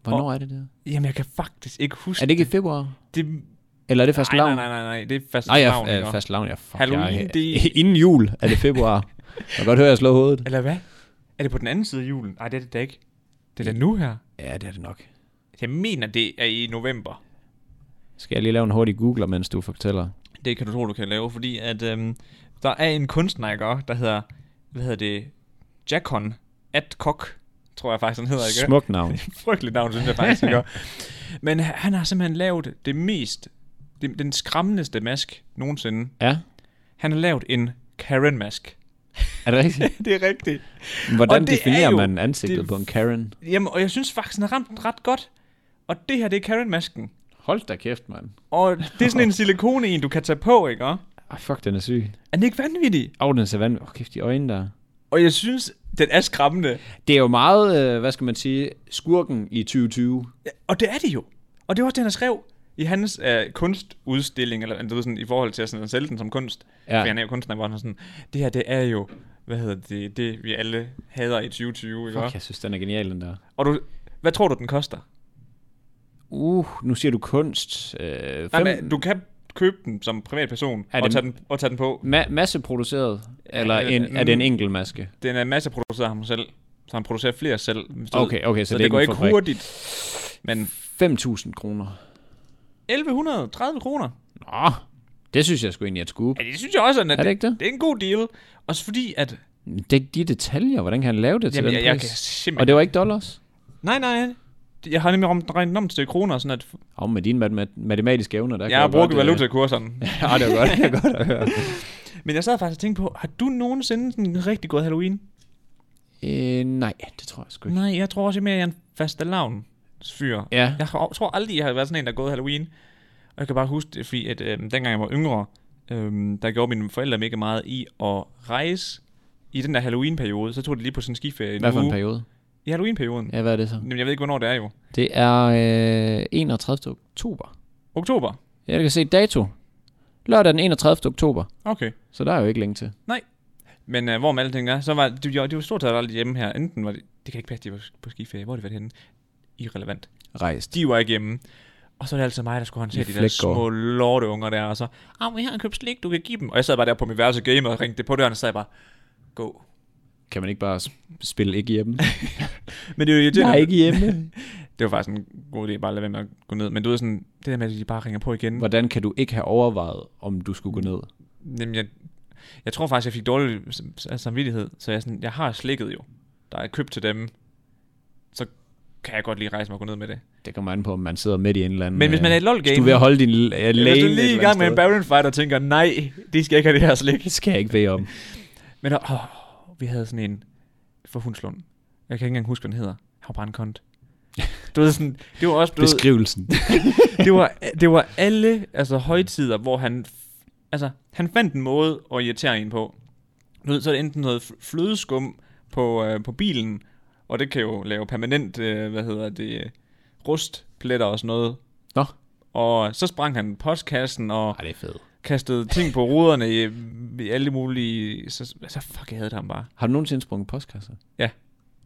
S2: Hvornår er det der?
S1: Jamen, jeg kan faktisk ikke huske
S2: Er det ikke i februar?
S1: det.
S2: Eller er det fast
S1: nej, nej,
S2: lavn?
S1: nej, nej, nej, det er fast
S2: Nej,
S1: navn,
S2: jeg, øh,
S1: ikke?
S2: fast lavn, jeg, fuck,
S1: Halloween,
S2: jeg,
S1: det
S2: Inden jul er det februar. Jeg kan godt høre, jeg slår hovedet.
S1: Eller hvad? Er det på den anden side af julen? Nej, det er det da ikke. Det er da nu her.
S2: Ja, det er det nok.
S1: Jeg mener, det er i november.
S2: Skal jeg lige lave en hurtig googler, mens du fortæller?
S1: Det kan du tro, du kan lave, fordi at øhm, der er en kunstner, ikke? også, der hedder, hvad hedder det? Jackon Adcock, tror jeg faktisk, han hedder, ikke?
S2: Smukt navn.
S1: Frygteligt navn, synes jeg faktisk, ikke? Men han har simpelthen lavet det mest, det, den skræmmendeste mask nogensinde.
S2: Ja,
S1: Han har lavet en Karen-mask.
S2: er det rigtigt?
S1: det er rigtigt.
S2: Hvordan
S1: Og det er
S2: definerer
S1: jo-
S2: man ansigtet
S1: det-
S2: på en Karen?
S1: Jamen, og jeg synes faktisk, han har ramt den ret godt. Og det her, det er Karen-masken.
S2: Hold da kæft, mand.
S1: Og det er sådan en silikone en, du kan tage på, ikke? også?
S2: Ah, fuck, den er syg.
S1: Er den ikke vanvittig?
S2: Åh, oh, den ser vanvittig. Åh, oh, kæft, de øjne der.
S1: Og jeg synes, den er skræmmende.
S2: Det er jo meget, øh, hvad skal man sige, skurken i 2020.
S1: Ja, Og det er det jo. Og det var også det, han skrev i hans øh, kunstudstilling, eller du ved, sådan, i forhold til at sådan, at sælge den som kunst.
S2: Ja.
S1: Ja. For han er jo kunstner, hvor han er sådan, det her, det er jo, hvad hedder det, det vi alle hader i 2020, ikke?
S2: Fuck,
S1: Okay.
S2: jeg synes, den er genial, den der.
S1: Og du, hvad tror du, den koster?
S2: Uh, nu siger du kunst. Øh,
S1: Nej,
S2: fem,
S1: men, du kan købe den som privatperson,
S2: Er
S1: og
S2: det-
S1: tage, den, og tage den på.
S2: ma- masseproduceret? Eller
S1: øh,
S2: en, er det en enkelt maske?
S1: Den er masser produceret af ham selv, så han producerer flere selv. Så,
S2: Okay, okay, så,
S1: så
S2: det,
S1: det, det går
S2: en
S1: ikke
S2: fabrik.
S1: hurtigt. Men
S2: 5.000 kroner.
S1: 1130 kroner.
S2: Nå, det synes jeg sgu egentlig er et scoop.
S1: Ja, det synes jeg også, at
S2: Er det ikke det?
S1: det er en god deal. Også fordi, at...
S2: Det er ikke de detaljer. Hvordan kan han lave det til
S1: Jamen,
S2: den
S1: jeg, jeg kan
S2: pris?
S1: simpelthen...
S2: Og det var ikke dollars?
S1: Nej, nej. Jeg har nemlig om- regnet om til kroner, sådan at
S2: Og med dine mat- matematiske evner, der kan
S1: jeg har
S2: jo godt,
S1: brugt
S2: øh,
S1: valutakurserne.
S2: Ja, det er godt, det er godt at høre.
S1: Men jeg sad faktisk og tænkte på, har du nogensinde sådan rigtig god Halloween?
S2: Øh, nej, det tror jeg sgu ikke.
S1: Nej, jeg tror også mere, jeg er en fastelavn fyr.
S2: Ja,
S1: Jeg har- tror aldrig, jeg har været sådan en, der er gået Halloween. Og jeg kan bare huske det, fordi at, øh, dengang jeg var yngre, øh, der gjorde mine forældre mega meget i at rejse i den der Halloween-periode. Så tog de lige på sådan en skiferie.
S2: hvad for en
S1: uge.
S2: periode?
S1: I Halloween-perioden.
S2: Ja, hvad er det så?
S1: Jamen, jeg ved ikke, hvornår det er jo.
S2: Det er øh, 31. oktober.
S1: Oktober?
S2: Ja, du kan se dato. Lørdag den 31. oktober.
S1: Okay.
S2: Så der er jo ikke længe til.
S1: Men uh, hvor med alting er, så var de, de, var- de var stort set aldrig hjemme her. Enten var de, det kan ikke passe, de var på skiferie. Hvor har de været henne? Irrelevant.
S2: Rejst.
S1: De var ikke hjemme. Og så er det altså mig, der skulle håndtere
S2: I
S1: de der
S2: Fleggaard.
S1: små lorteunger der, og så, ah, men jeg har købt slik, du kan give dem. Og jeg sad bare der på mit værelse og game og ringte det på døren, og så sagde jeg bare, gå.
S2: Kan man ikke bare sp- spille ikke hjemme?
S1: Men det er jo irriterende.
S2: Nej, ikke hjemme.
S1: Det var faktisk en god idé, bare at lade være med at gå ned. Men du ved sådan, det der med, at de bare ringer på igen.
S2: Hvordan kan du ikke have overvejet, om du skulle gå ned?
S1: Jamen, jeg, jeg tror faktisk, jeg fik dårlig sam- samvittighed, så jeg, sådan, jeg har slikket jo, der er købt til dem, så kan jeg godt lige rejse mig og gå ned med det.
S2: Det kommer an på, om man sidder midt i en eller anden...
S1: Men hvis man er i et
S2: Hvis du er
S1: LOL-game,
S2: ved at holde din l- øh, lane...
S1: hvis du
S2: et
S1: lige i
S2: eller andet
S1: gang med en
S2: sted,
S1: Baron Fight og tænker, nej, de skal ikke have det her slik.
S2: Det skal jeg ikke bede om.
S1: Men åh, vi havde sådan en for Hundslund. Jeg kan ikke engang huske, hvad den hedder. Han var bare en kont. Du ved sådan, det var også, du ved,
S2: Beskrivelsen.
S1: det var, det var alle altså, højtider, hvor han, f- altså, han fandt en måde at irritere en på. Du ved, så er det enten noget fl- flødeskum på, øh, på bilen, og det kan jo lave permanent, øh, hvad hedder det, øh, rustpletter og sådan noget.
S2: Nå.
S1: Og så sprang han postkassen og
S2: Ej, det er fedt.
S1: kastede ting på ruderne i, i alle mulige... Så, så fuck, jeg havde ham bare.
S2: Har du nogensinde sprunget postkasser?
S1: Ja.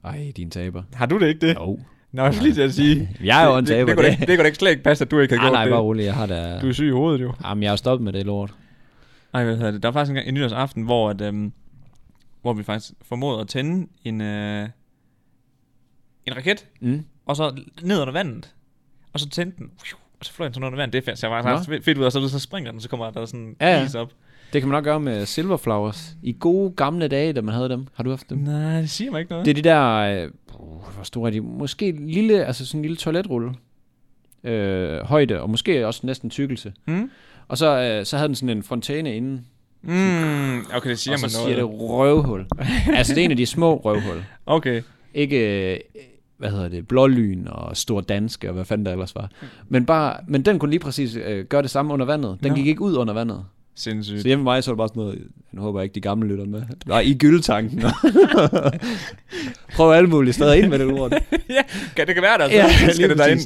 S2: Ej, din taber.
S1: Har du det ikke det?
S2: Jo.
S1: Nå, jeg skulle lige til at sige.
S2: Jeg er jo en
S1: det, det,
S2: taber.
S1: det, kunne da ikke, det kunne da ikke slet ikke passe, at du ikke havde
S2: Ej, nej,
S1: gjort
S2: bare
S1: det.
S2: rolig. Jeg har da...
S1: Du er syg i hovedet jo.
S2: Jamen, jeg har stoppet med det lort.
S1: Nej, hvad hedder det? Der var faktisk en, gang, en nytårsaften, hvor, at, øhm, hvor vi faktisk formåede at tænde en, øh, en raket,
S2: Mm.
S1: og så ned under vandet. Og så tændte den, og så fløj den sådan under vandet. Det fandt jeg
S2: Nå.
S1: faktisk ret fedt ud, og så, så springer den, og så kommer der sådan
S2: Ja, ja.
S1: is op.
S2: Det kan man nok gøre med silverflowers. I gode gamle dage, da man havde dem. Har du haft dem?
S1: Nej, det siger mig ikke noget.
S2: Det er de der... Øh, puh, hvor store er de? Måske lille, altså sådan en lille toiletrulle. Øh, højde, og måske også næsten tykkelse.
S1: Mm?
S2: Og så, øh, så havde den sådan en fontæne inden.
S1: Mm, okay, det siger
S2: og så
S1: mig
S2: siger
S1: noget.
S2: det røvhul. altså, det er en af de små røvhul.
S1: Okay.
S2: Ikke, øh, hvad hedder det, blålyn og stor dansk og hvad fanden der ellers var.
S1: Mm.
S2: Men, bare, men den kunne lige præcis øh, gøre det samme under vandet. Den
S1: Nå.
S2: Nå. gik ikke ud under vandet.
S1: Sindssygt.
S2: Så hjemme ved mig, så var det bare sådan noget, nu håber jeg ikke, de gamle lytter med. Nej, i gyldetanken. Prøv alle mulige steder ind med det ord.
S1: ja, kan, det kan være der, så ja, skal det derind.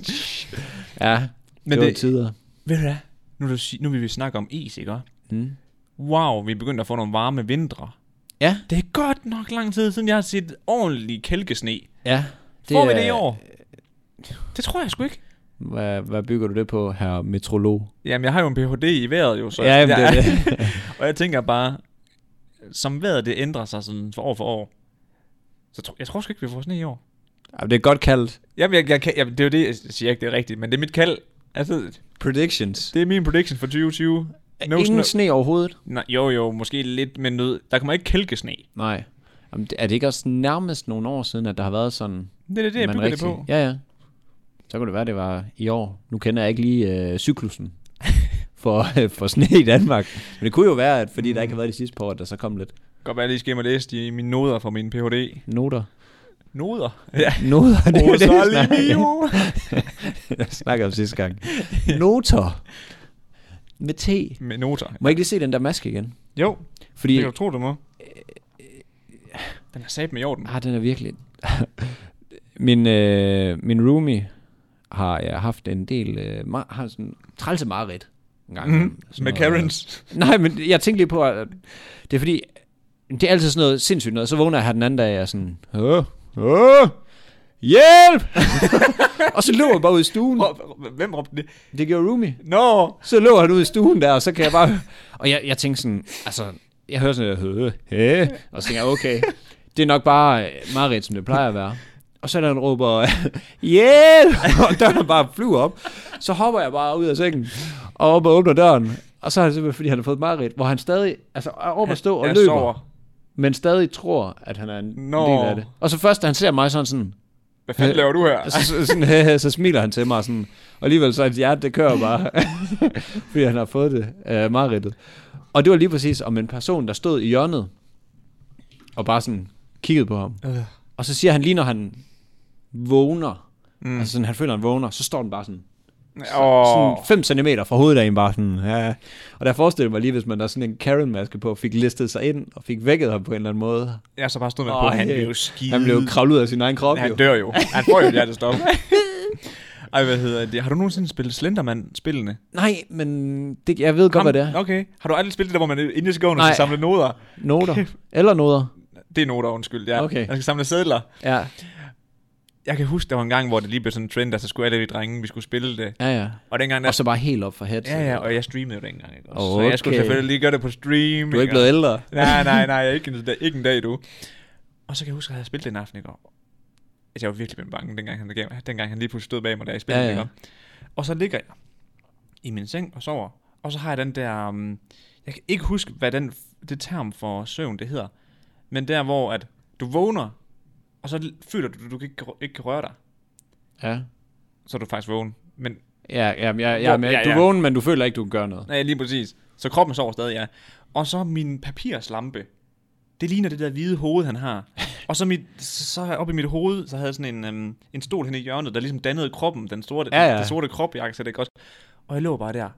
S2: Ja,
S1: Men
S2: det var
S1: det-
S2: tider.
S1: Ved du hvad? Nu, er du, si- nu vil vi snakke om is, ikke?
S2: Mm.
S1: Wow, vi er begyndt at få nogle varme vintre.
S2: Ja,
S1: Det er godt nok lang tid siden, jeg har set ordentlig kælkesne.
S2: ja.
S1: Det Får vi det i
S2: er-
S1: år? Det tror jeg sgu ikke.
S2: Hvad, hvad bygger du det på, her metrolog?
S1: Jamen, jeg har jo en Ph.D. i vejret jo, så
S2: Ja, jamen, det er
S1: jeg,
S2: det.
S1: og jeg tænker bare, som vejret det ændrer sig sådan for år for år, så tro, jeg tror sgu ikke, vi får sne i år.
S2: Jamen, det er godt kaldt.
S1: Jamen, jeg, jeg, kan- jamen, det er jo det, jeg siger ikke, det er rigtigt, men det er mit kald. Altså,
S2: Predictions.
S1: det er min prediction for 2020. No
S2: Ingen
S1: snow.
S2: sne overhovedet?
S1: Nej, jo, jo, måske lidt, men nød. der kommer ikke kælkesne.
S2: Nej. Jamen, det- er det ikke også nærmest nogle år siden, at der har været sådan...
S1: Det er det, jeg
S2: man
S1: bygger det på.
S2: Ja, ja. Så kunne det være, det var i år. Nu kender jeg ikke lige øh, cyklusen for, øh, for sne i Danmark. Men det kunne jo være, at fordi mm. der ikke har været de sidste par år, at der så kom lidt
S1: Godt være, jeg lige skal hjem og læse de, mine noder fra min Ph.D.
S2: noter.
S1: Noder? Ja.
S2: Noter, det er
S1: Oh,
S2: det,
S1: så
S2: vi snakker-
S1: mio.
S2: jeg snakker om sidste gang. Noter. Med T.
S1: Med noter.
S2: Må jeg ikke lige se den der maske igen?
S1: Jo,
S2: Fordi,
S1: det kan du tro, du må. Den er sat med i orden.
S2: Ah, den er virkelig... min, øh, min roomie har ja, haft en del... Øh, ma- har sådan trælse mareridt en gang.
S1: Mm,
S2: imellem. Sådan
S1: med
S2: noget,
S1: Karens.
S2: øh, Nej, men jeg tænkte lige på, at det er fordi... Det er altid sådan noget sindssygt noget. Så vågner jeg her den anden dag, og jeg er sådan... Åh, åh, hjælp! og så løber jeg bare ud i stuen.
S1: Rå- Hvem råbte det?
S2: Det gjorde roomie.
S1: Nå!
S2: Så lå han ude i stuen der, og så kan jeg bare... Og jeg, jeg tænkte sådan, altså... Jeg hører sådan noget, øh, øh, og så tænker jeg, okay, det er nok bare øh, meget som det plejer at være. Og så er der en råber, hjælp, og døren bare flyver op. Så hopper jeg bare ud af sengen, og op og åbner døren. Og så er det simpelthen, fordi han har fået mareridt, hvor han stadig altså, er oppe at stå og
S1: jeg
S2: løber,
S1: sover.
S2: men stadig tror, at han er en
S1: Nå.
S2: del af det. Og så først, da han ser mig sådan sådan,
S1: Hvad fanden
S2: Øh,
S1: laver du her?
S2: og så, så, sådan, hey, hey, så smiler han til mig sådan, og alligevel så hans hjerte, det kører bare, fordi han har fået det øh, mareridtet. Og det var lige præcis om en person, der stod i hjørnet, og bare sådan kiggede på ham.
S1: Øh.
S2: Og så siger han lige, når han vågner, mm.
S1: Mm.
S2: altså sådan, han føler, han vågner, så står den bare sådan,
S1: Åh,
S2: sådan 5 cm fra hovedet af en bare sådan, ja. ja. Og der forestiller jeg mig lige, hvis man der sådan en Karen-maske på, fik listet sig ind, og fik vækket ham på en eller anden måde.
S1: jeg så bare stod med
S2: Åh,
S1: på, han
S2: hey.
S1: blev skide.
S2: Han blev kravlet ud af sin egen krop, jo.
S1: Han dør jo. Han får jo et hjertestop. Ej, hvad hedder det? Har du nogensinde spillet Slenderman-spillene?
S2: Nej, men det, jeg ved godt, hvad det er.
S1: Okay. Har du aldrig spillet det, hvor man er inde i skoven og
S2: Nej.
S1: skal samle noder?
S2: Noter. Eller noder.
S1: Det er noter, undskyld. Ja.
S2: Okay.
S1: Man skal samle sædler.
S2: Ja,
S1: Jeg kan huske, der var en gang, hvor det lige blev sådan en trend, at så skulle alle vi drenge, vi skulle spille det.
S2: ja, ja.
S1: Og dengang, der
S2: Og så bare helt op for head.
S1: Ja, ja, og jeg streamede jo dengang, ikke også?
S2: Åh,
S1: Så jeg skulle
S2: okay.
S1: selvfølgelig lige gøre det på stream.
S2: Du er ikke blevet ældre.
S1: Nej, nej, nej, jeg er ikke en, dag, ikke en dag, du. Og så kan jeg huske, at jeg havde spillet den aften, ikke? Og Altså, jeg var virkelig blevet bange, dengang han, gav, dengang han lige pludselig stod bag mig, da jeg spillede,
S2: Ja,
S1: ja,
S2: ja.
S1: ja. ikke? Og så ligger jeg i min seng og sover, og så har jeg den der... Um, jeg kan ikke huske, hvad den, det term for søvn, det hedder. Men der, hvor at du vågner, og så føler du, at du ikke, kan rø- ikke kan røre dig.
S2: Ja.
S1: Så er du faktisk vågen. Men
S2: Ja, ja, ja, ja, men,
S1: Ja,
S2: du
S1: ja.
S2: er vågen, men du føler ikke, du gør noget.
S1: Ja, lige præcis. Så kroppen sover stadig, ja. Og så min papirslampe. Det ligner det der hvide hoved, han har. Og så, mit, så op i mit hoved, så havde jeg sådan en, øhm, en stol hen i hjørnet, der ligesom dannede kroppen, den sorte,
S2: Ja, ja.
S1: Den sorte krop, jeg kan ikke også. Og jeg lå bare der.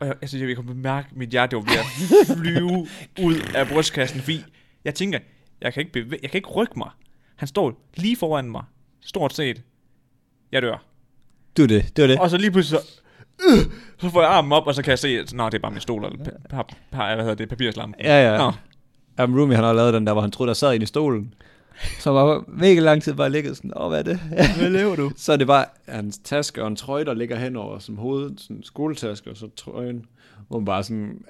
S1: Og jeg, altså, jeg kunne mærke, at mit hjerte var ved at flyve ud af brystkassen, fordi Jeg tænker, jeg kan ikke, bevæ- jeg kan ikke rykke mig. Han står lige foran mig, stort set. Jeg dør.
S2: Du er det, det var det.
S1: Og så lige pludselig så, øh, så får jeg armen op, og så kan jeg se, at nå, det er bare min stol, eller pa- pa- pa- hvad hedder det, papirslam.
S2: Ja, ja.
S1: Nå,
S2: Jamen, Rumi, han har lavet den der, hvor han troede, der sad inde i stolen. Så var mega lang tid bare ligget sådan, åh, hvad er det?
S1: hvad laver du?
S2: så er det bare hans taske og en trøje, der ligger henover som hovedet, sådan en skoletaske og så trøjen, hvor man bare sådan... Jamen,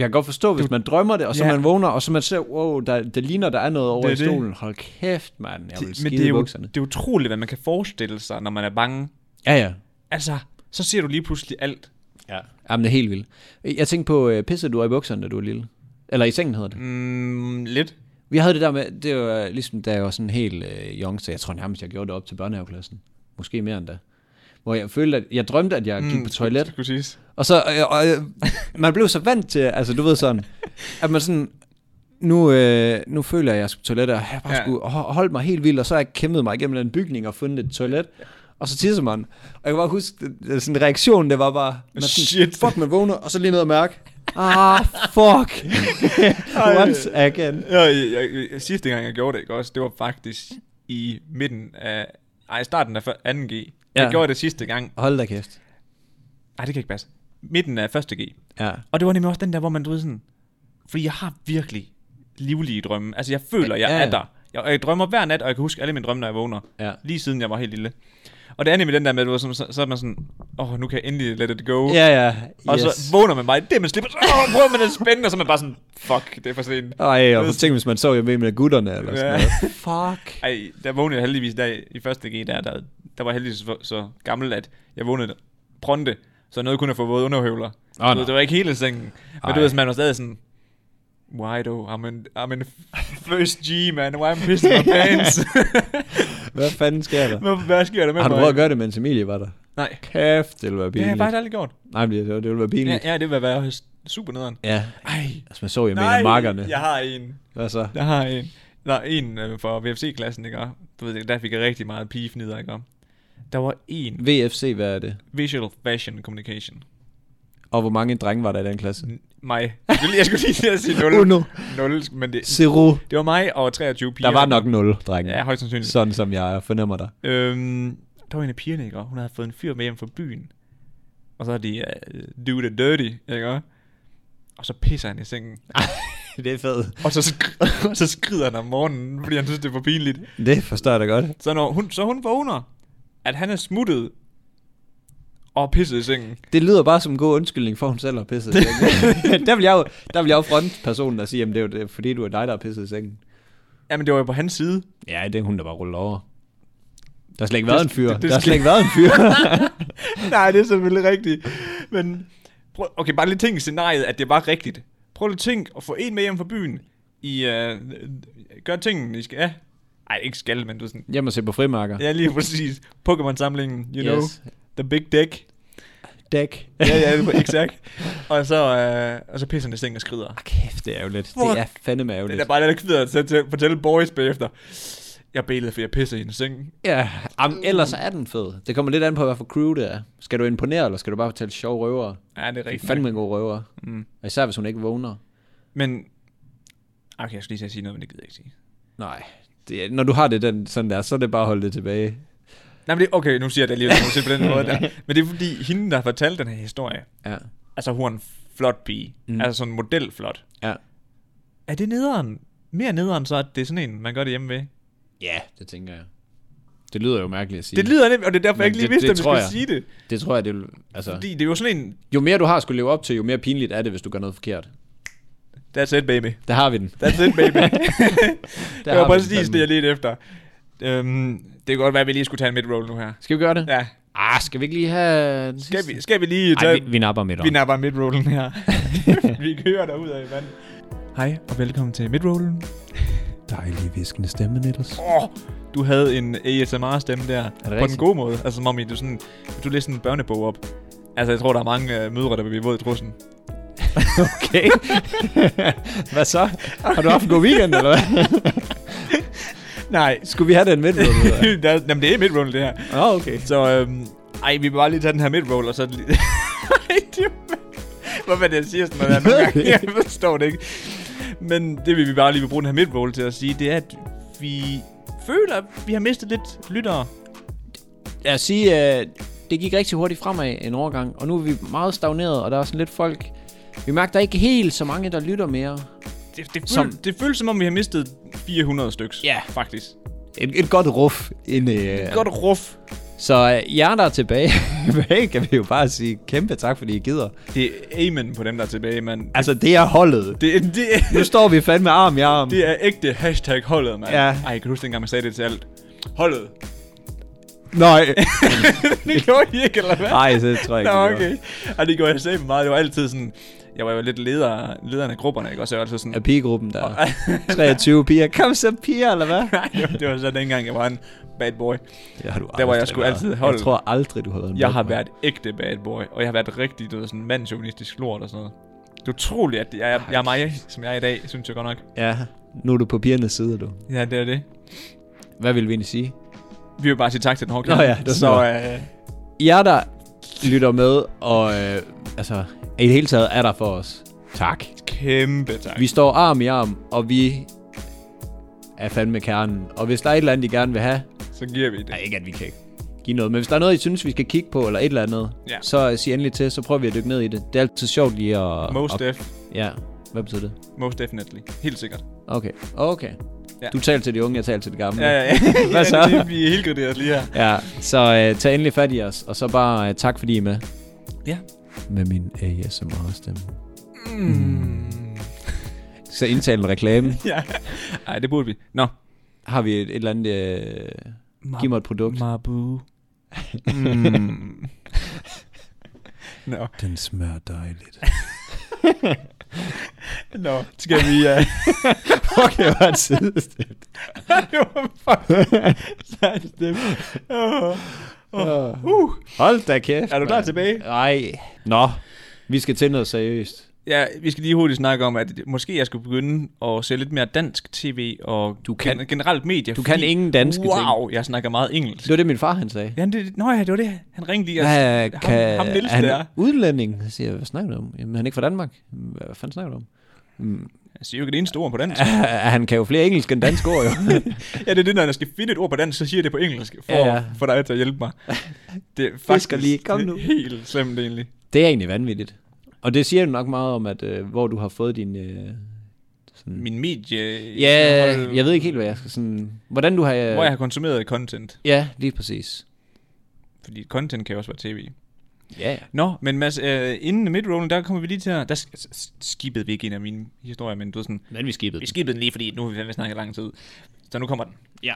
S2: jeg kan godt forstå, hvis man drømmer det, og så
S1: Ja.
S2: man vågner, og så man ser, wow, der, det ligner, der er noget over
S1: Det
S2: det
S1: er
S2: i
S1: det.
S2: stolen. Hold kæft, mand, jeg vil
S1: Det,
S2: skide
S1: men det er, jo,
S2: bukserne.
S1: det er utroligt, hvad man kan forestille sig, når man er bange.
S2: Ja, ja.
S1: Altså, så ser du lige pludselig alt.
S2: ja. Jamen, det er helt vildt. Jeg tænkte på, øh, pissede du i bukserne, da du var lille? Eller i sengen hedder det.
S1: Mm, lidt.
S2: Vi havde det der med, det var ligesom, da jeg var sådan helt øh, young, så jeg tror nærmest, jeg gjorde det op til børnehaveklassen. Måske mere end da. Hvor jeg følte, at jeg drømte, at jeg gik mm, på toilet.
S1: Skulle siges.
S2: Og så, øh, og, øh, man blev så vant til, altså du ved sådan, at man sådan, nu, øh, nu føler jeg, at jeg skal på toilettet, og jeg bare
S1: Ja.
S2: ja. skulle ho- holde mig helt vildt, og så har jeg kæmpet mig igennem en bygning og fundet et toilet, og så tisser man. Og jeg kan bare huske, det- det, sådan reaktionen, det var bare, man sådan,
S1: Shit.
S2: fuck, man vågner, og så lige ned og mærke, ah, fuck, once again.
S1: Ja, jeg, jeg, jeg, sidste gang, jeg gjorde det, ikke også, det var faktisk i midten af... Ej, i starten af 2. G. Jeg
S2: Ja.
S1: gjorde det sidste gang.
S2: Hold da kæft.
S1: Ej, det kan ikke passe. Midten af 1. G.
S2: Ja.
S1: Og det var nemlig også den der, hvor man, du ved sådan... Fordi jeg har virkelig livlige drømme. Altså, jeg føler, jeg
S2: Ja, ja.
S1: er der. Jeg, jeg drømmer hver nat, og jeg kan huske alle mine drømme, når jeg vågner.
S2: Ja.
S1: Lige siden jeg var helt lille. Og det er nemlig den der med, at du ved, så, så, så er man sådan... Åh, oh, nu kan jeg endelig let it go.
S2: Ja, ja.
S1: Og så vågner man bare i det, man slipper. Åh, prøver man at spænde, og så er man bare sådan... Fuck, det er for sent.
S2: Ej, og tænk, hvis man så jo med med gutterne, eller sådan
S1: Ja.
S2: noget. Fuck.
S1: Ej, der vågnede jeg heldigvis der i første G, der, der, der var jeg heldigvis så, så gammel, at jeg vågnede pronte, så jeg nåede kun at få våde underhøvler.
S2: Åh,
S1: Oh,
S2: nej.
S1: det var ikke hele sengen. Men
S2: Ej.
S1: du ved, sådan, man var stadig sådan, why do, I'm in, I'm in first G, man, why I'm pissing my pants.
S2: Hvad fanden sker der?
S1: Hvad- Hvad sker der med
S2: Har du
S1: mig?
S2: prøvet at gøre det, mens Emilie var der?
S1: Nej,
S2: Kæft, det
S1: det
S2: ville være
S1: har jeg
S2: pinligt.
S1: faktisk aldrig gjort.
S2: Nej, men det, det ville være
S1: Ja,
S2: pinligt. Ja,
S1: ja det vil være super nederen.
S2: ja.
S1: Ej,
S2: Altså, man så jo med markerne.
S1: jeg har en.
S2: Hvad så?
S1: Jeg har en. Der er en øh, fra VFC-klassen, ikke? Og Du ved, der fik jeg rigtig meget pigefnider, ikke? Og Der var en
S2: VFC, hvad er det?
S1: Visual Fashion Communication.
S2: Og hvor mange drenge var der i den klasse?
S1: N- mig. Jeg skulle, jeg skulle lige til at sige 0.
S2: Uno.
S1: 0, men det,
S2: Zero.
S1: det var mig og 23 piger.
S2: Der var nok 0, drenge.
S1: Ja, højst sandsynligt. Så.
S2: Sådan som jeg fornemmer dig.
S1: Øhm, der var en af pigerne, ikke? Og Hun havde fået en fyr med hjem fra byen. Og så er de uh, dude and dirty, ikke? Og så pisser han i sengen.
S2: det er fedt.
S1: Og så, skri- og så skrider han om morgenen, fordi han synes, det er for pinligt.
S2: Det forstår jeg da godt.
S1: Så, når hun, så hun vågner, at han er smuttet og pisset i sengen.
S2: Det lyder bare som en god undskyldning for, at hun selv har pisset i sengen. der vil jeg jo, der vil jeg jo fronte personen og sige, jamen det er jo det, fordi du er dig, der har pisset i sengen.
S1: Jamen, det var jo på hans side.
S2: Ja, det er hun, der bare ruller over. Der har slet ikke
S1: Det-
S2: været en fyr.
S1: det- det
S2: Der har
S1: skal-
S2: slet ikke været en fyr.
S1: Nej, det er selvfølgelig rigtigt. Men prøv, okay, bare lige tænk i scenariet, at det var rigtigt. Prøv lige at tænk at få en med hjem fra byen. I øh, gør tingene, I skal. Ja. Ej, ikke skal, men du er sådan.
S2: Hjemme og se på frimarker.
S1: Ja, lige præcis. Pokémon-samlingen, you yes. know. The big deck.
S2: Dæk.
S1: Ja, ja, exakt. og så, øh, og så pisser han i sengen og skrider.
S2: Ah, kæft, det er ærgerligt.
S1: Fuck.
S2: Det er fandeme
S1: Det er
S2: ærgerligt.
S1: da bare lidt kvider at sætte til- fortælle boys bagefter. Jeg bælede, for jeg pisser i hendes seng.
S2: Ja, jamen, ellers er den fed. Det kommer lidt an på, hvad for crew det er. Skal du imponere, eller skal du bare fortælle sjove røvere?
S1: Ja, det er
S2: Det er
S1: rigtigt.
S2: fandme en god røver.
S1: Mm.
S2: Og især, hvis hun ikke vågner.
S1: Men, okay, jeg skulle lige til at sige noget, men det gider jeg ikke sige.
S2: Nej. Det, er- når du har det den, sådan der, så er det bare at holde det tilbage.
S1: Nej, men det, okay, nu siger jeg det alligevel nogensinde på den måde der. Men det er fordi, hende, der fortalte den her historie,
S2: Ja.
S1: altså hun er en flot pige,
S2: Mm.
S1: mm. altså sådan en modelflot.
S2: Ja.
S1: Er det nederen? Mere nederen så, at det er sådan en, man gør det hjemme ved?
S2: Ja, det tænker jeg. Det lyder jo mærkeligt at sige.
S1: Det lyder nemt, og det er derfor,
S2: Men
S1: jeg ikke lige
S2: det-
S1: vidste,
S2: det
S1: at vi
S2: tror
S1: skulle
S2: jeg.
S1: sige det.
S2: det tror jeg, det vil, altså,
S1: Fordi det er jo sådan en,
S2: Jo mere du har at skulle leve op til, jo mere pinligt er det, hvis du gør noget forkert.
S1: that's it baby,
S2: Der har vi den.
S1: that's it baby. det var
S2: har vi
S1: præcis
S2: den.
S1: det, jeg ledte efter. Øhm, det kan godt være, at vi lige skulle tage en midroll nu her.
S2: Skal vi gøre det?
S1: Ja,
S2: Ah, skal vi ikke lige have den
S1: skal
S2: sidste?
S1: vi, skal vi lige tage...
S2: Ej, vi, vi napper midt om.
S1: Vi napper midrollen her. vi kører derud af vand. Hej, og velkommen til midrollen.
S2: Dejlig viskende stemme, Nitters.
S1: Åh, du havde en ASMR-stemme der. på
S2: rigtigt?
S1: den gode måde. Altså som om I, du, sådan, du læste sådan en børnebog op. Altså jeg tror, der er mange øh, mødre, der vil blive våd i trussen.
S2: Okay. hvad så? Har du haft en god weekend, eller hvad?
S1: Nej.
S2: Skulle vi have den midt? Åh,
S1: der, er- jamen det er midroll det her.
S2: oh, okay.
S1: Så øhm, ej, vi vil bare lige tage den her midroll, og så... lige- Ej, det er- Hvorfor er det, jeg siger sådan noget der nogle gange? Jeg forstår det ikke. Men det vil vi bare lige vil bruge den her midtroll til at sige, det er, at vi føler, at vi har mistet lidt lyttere.
S2: Lad os sige, at det gik rigtig hurtigt fremad en overgang, og nu er vi meget stagneret, og der er sådan lidt folk... Vi mærker, der er ikke helt så mange, der lytter mere.
S1: Det, det,
S2: Som-
S1: føl, det føles som om, vi har mistet 400 styks.
S2: Ja.
S1: Faktisk.
S2: Et, et godt ruf. En, øh,
S1: Godt ruf.
S2: Så øh, jer, der er tilbage, kan vi jo bare sige kæmpe tak, fordi I gider.
S1: Det er amen på dem, der er tilbage, mand.
S2: Altså, det er holdet.
S1: Det, det,
S2: Nu står vi fandme arm i arm.
S1: det er ægte hashtag holdet, mand.
S2: Ja.
S1: Ej, kan du huske dengang, man sagde det til alt? Holdet.
S2: Nej.
S1: det gjorde I ikke, eller hvad?
S2: Nej, det tror jeg
S1: Nå,
S2: ikke. vi gør.
S1: okay. Ej, det gjorde jeg selv meget. Det var altid sådan... Jeg var jo lidt leder, lederen af grupperne, ikke? Og så var det sådan...
S2: Af pigegruppen, der er 23 piger. Kom så, piger, eller hvad?
S1: Nej, det var så dengang, jeg var en bad boy.
S2: Det har du
S1: Der var jeg
S2: aldrig
S1: sgu
S2: været.
S1: altid holdet.
S2: Jeg tror aldrig, du har været en
S1: Jeg
S2: bad
S1: har
S2: boy.
S1: været ægte bad boy, og jeg har været rigtig du ved, sådan mandsjovinistisk lort og sådan noget. Det er utroligt, at jeg, jeg, jeg er mig, som jeg er i dag, synes jeg godt nok.
S2: Ja, nu er du på pigernes side, du.
S1: Ja, det er det.
S2: Hvad vil vi egentlig sige?
S1: Vi vil bare sige tak til den hårde
S2: Nå
S1: kant.
S2: ja, det er
S1: Så øh,
S2: jer, der lytter med, og øh, altså, i det hele taget er der for os. Tak.
S1: kæmpe tak.
S2: Vi står arm i arm, og vi er fandme kernen. Og hvis der er et eller andet, I gerne vil have,
S1: Så giver vi det.
S2: nej, ikke at vi kan give noget, men hvis der er noget, I synes, vi skal kigge på, eller et eller andet,
S1: Ja.
S2: så øh, sig endelig til, så prøver vi at dykke ned i det. Det er altid sjovt lige at...
S1: Most,
S2: at,
S1: def,
S2: Ja, hvad betyder det?
S1: most definitely. Helt sikkert.
S2: Okay, okay.
S1: Ja.
S2: Ja. Du taler til de unge, jeg taler til de gamle.
S1: Ja, ja, ja.
S2: Hvad så?
S1: Ja, det, vi er helt graderet lige her.
S2: ja så øh, tag endelig fat i os, og så bare øh, tak, fordi I er med.
S1: Ja.
S2: Med min ASMR-stemme.
S1: Mm.
S2: Så indtale en reklame.
S1: ja. Ej, det burde vi. Nå.
S2: Har vi et, et eller andet... Øh, giv mig et produkt.
S1: Mabu. Mm. Nå.
S2: Den smager dejligt.
S1: Nå. Skal vi... Uh...
S2: Okay, det var et sidestep.
S1: det var fucking sejt stemme. Åh.
S2: Uh. Hold da kæft.
S1: Er du klar
S2: mand.
S1: tilbage?
S2: Nej. Nå, vi skal til noget seriøst.
S1: Ja, vi skal lige hurtigt snakke om, at måske jeg skulle begynde at se lidt mere dansk tv og
S2: Du kan-
S1: gen- generelt medier.
S2: Du kan ingen danske ting.
S1: Wow, jeg snakker meget engelsk.
S2: Det var det, min far han sagde.
S1: Ja, det, nå ja, det var det. Han ringte lige. og-
S2: Ja,
S1: ham- ham Niels
S2: er han
S1: der.
S2: udlænding? Så siger jeg, hvad snakker du om? Jamen, han er ikke fra Danmark. Hvad, hvad fanden snakker du om? Mm.
S1: "Altså, Jeg siger jo ikke det eneste ord på dansk.
S2: han kan jo flere engelsk end dansk ord, jo.
S1: ja, det er det, når jeg skal finde et ord på dansk, så siger jeg det på engelsk, for,
S2: Ja,
S1: ja, ja.
S2: ja.
S1: for dig til at hjælpe mig. Det er faktisk
S2: lige, kom nu.
S1: helt slemt egentlig.
S2: det er egentlig vanvittigt. Og det siger jo nok meget om, at øh, hvor du har fået din... Øh, sådan...
S1: Min medie...
S2: Ja,
S1: indhold,
S2: jeg ved ikke helt, hvad jeg skal sådan... Hvordan du har... Øh...
S1: Hvor jeg har konsumeret content.
S2: Ja, lige præcis.
S1: Fordi content kan jo også være tv.
S2: Ja, ja.
S1: Nå, men Mads, øh, inden midrollen, der kommer vi lige til at... Der sk- s- skippede vi ikke en af mine historier, men du ved sådan...
S2: Men vi skibede
S1: Vi skippede den lige, fordi nu har vi fandme snakket lang tid. Så nu kommer den.
S2: Ja.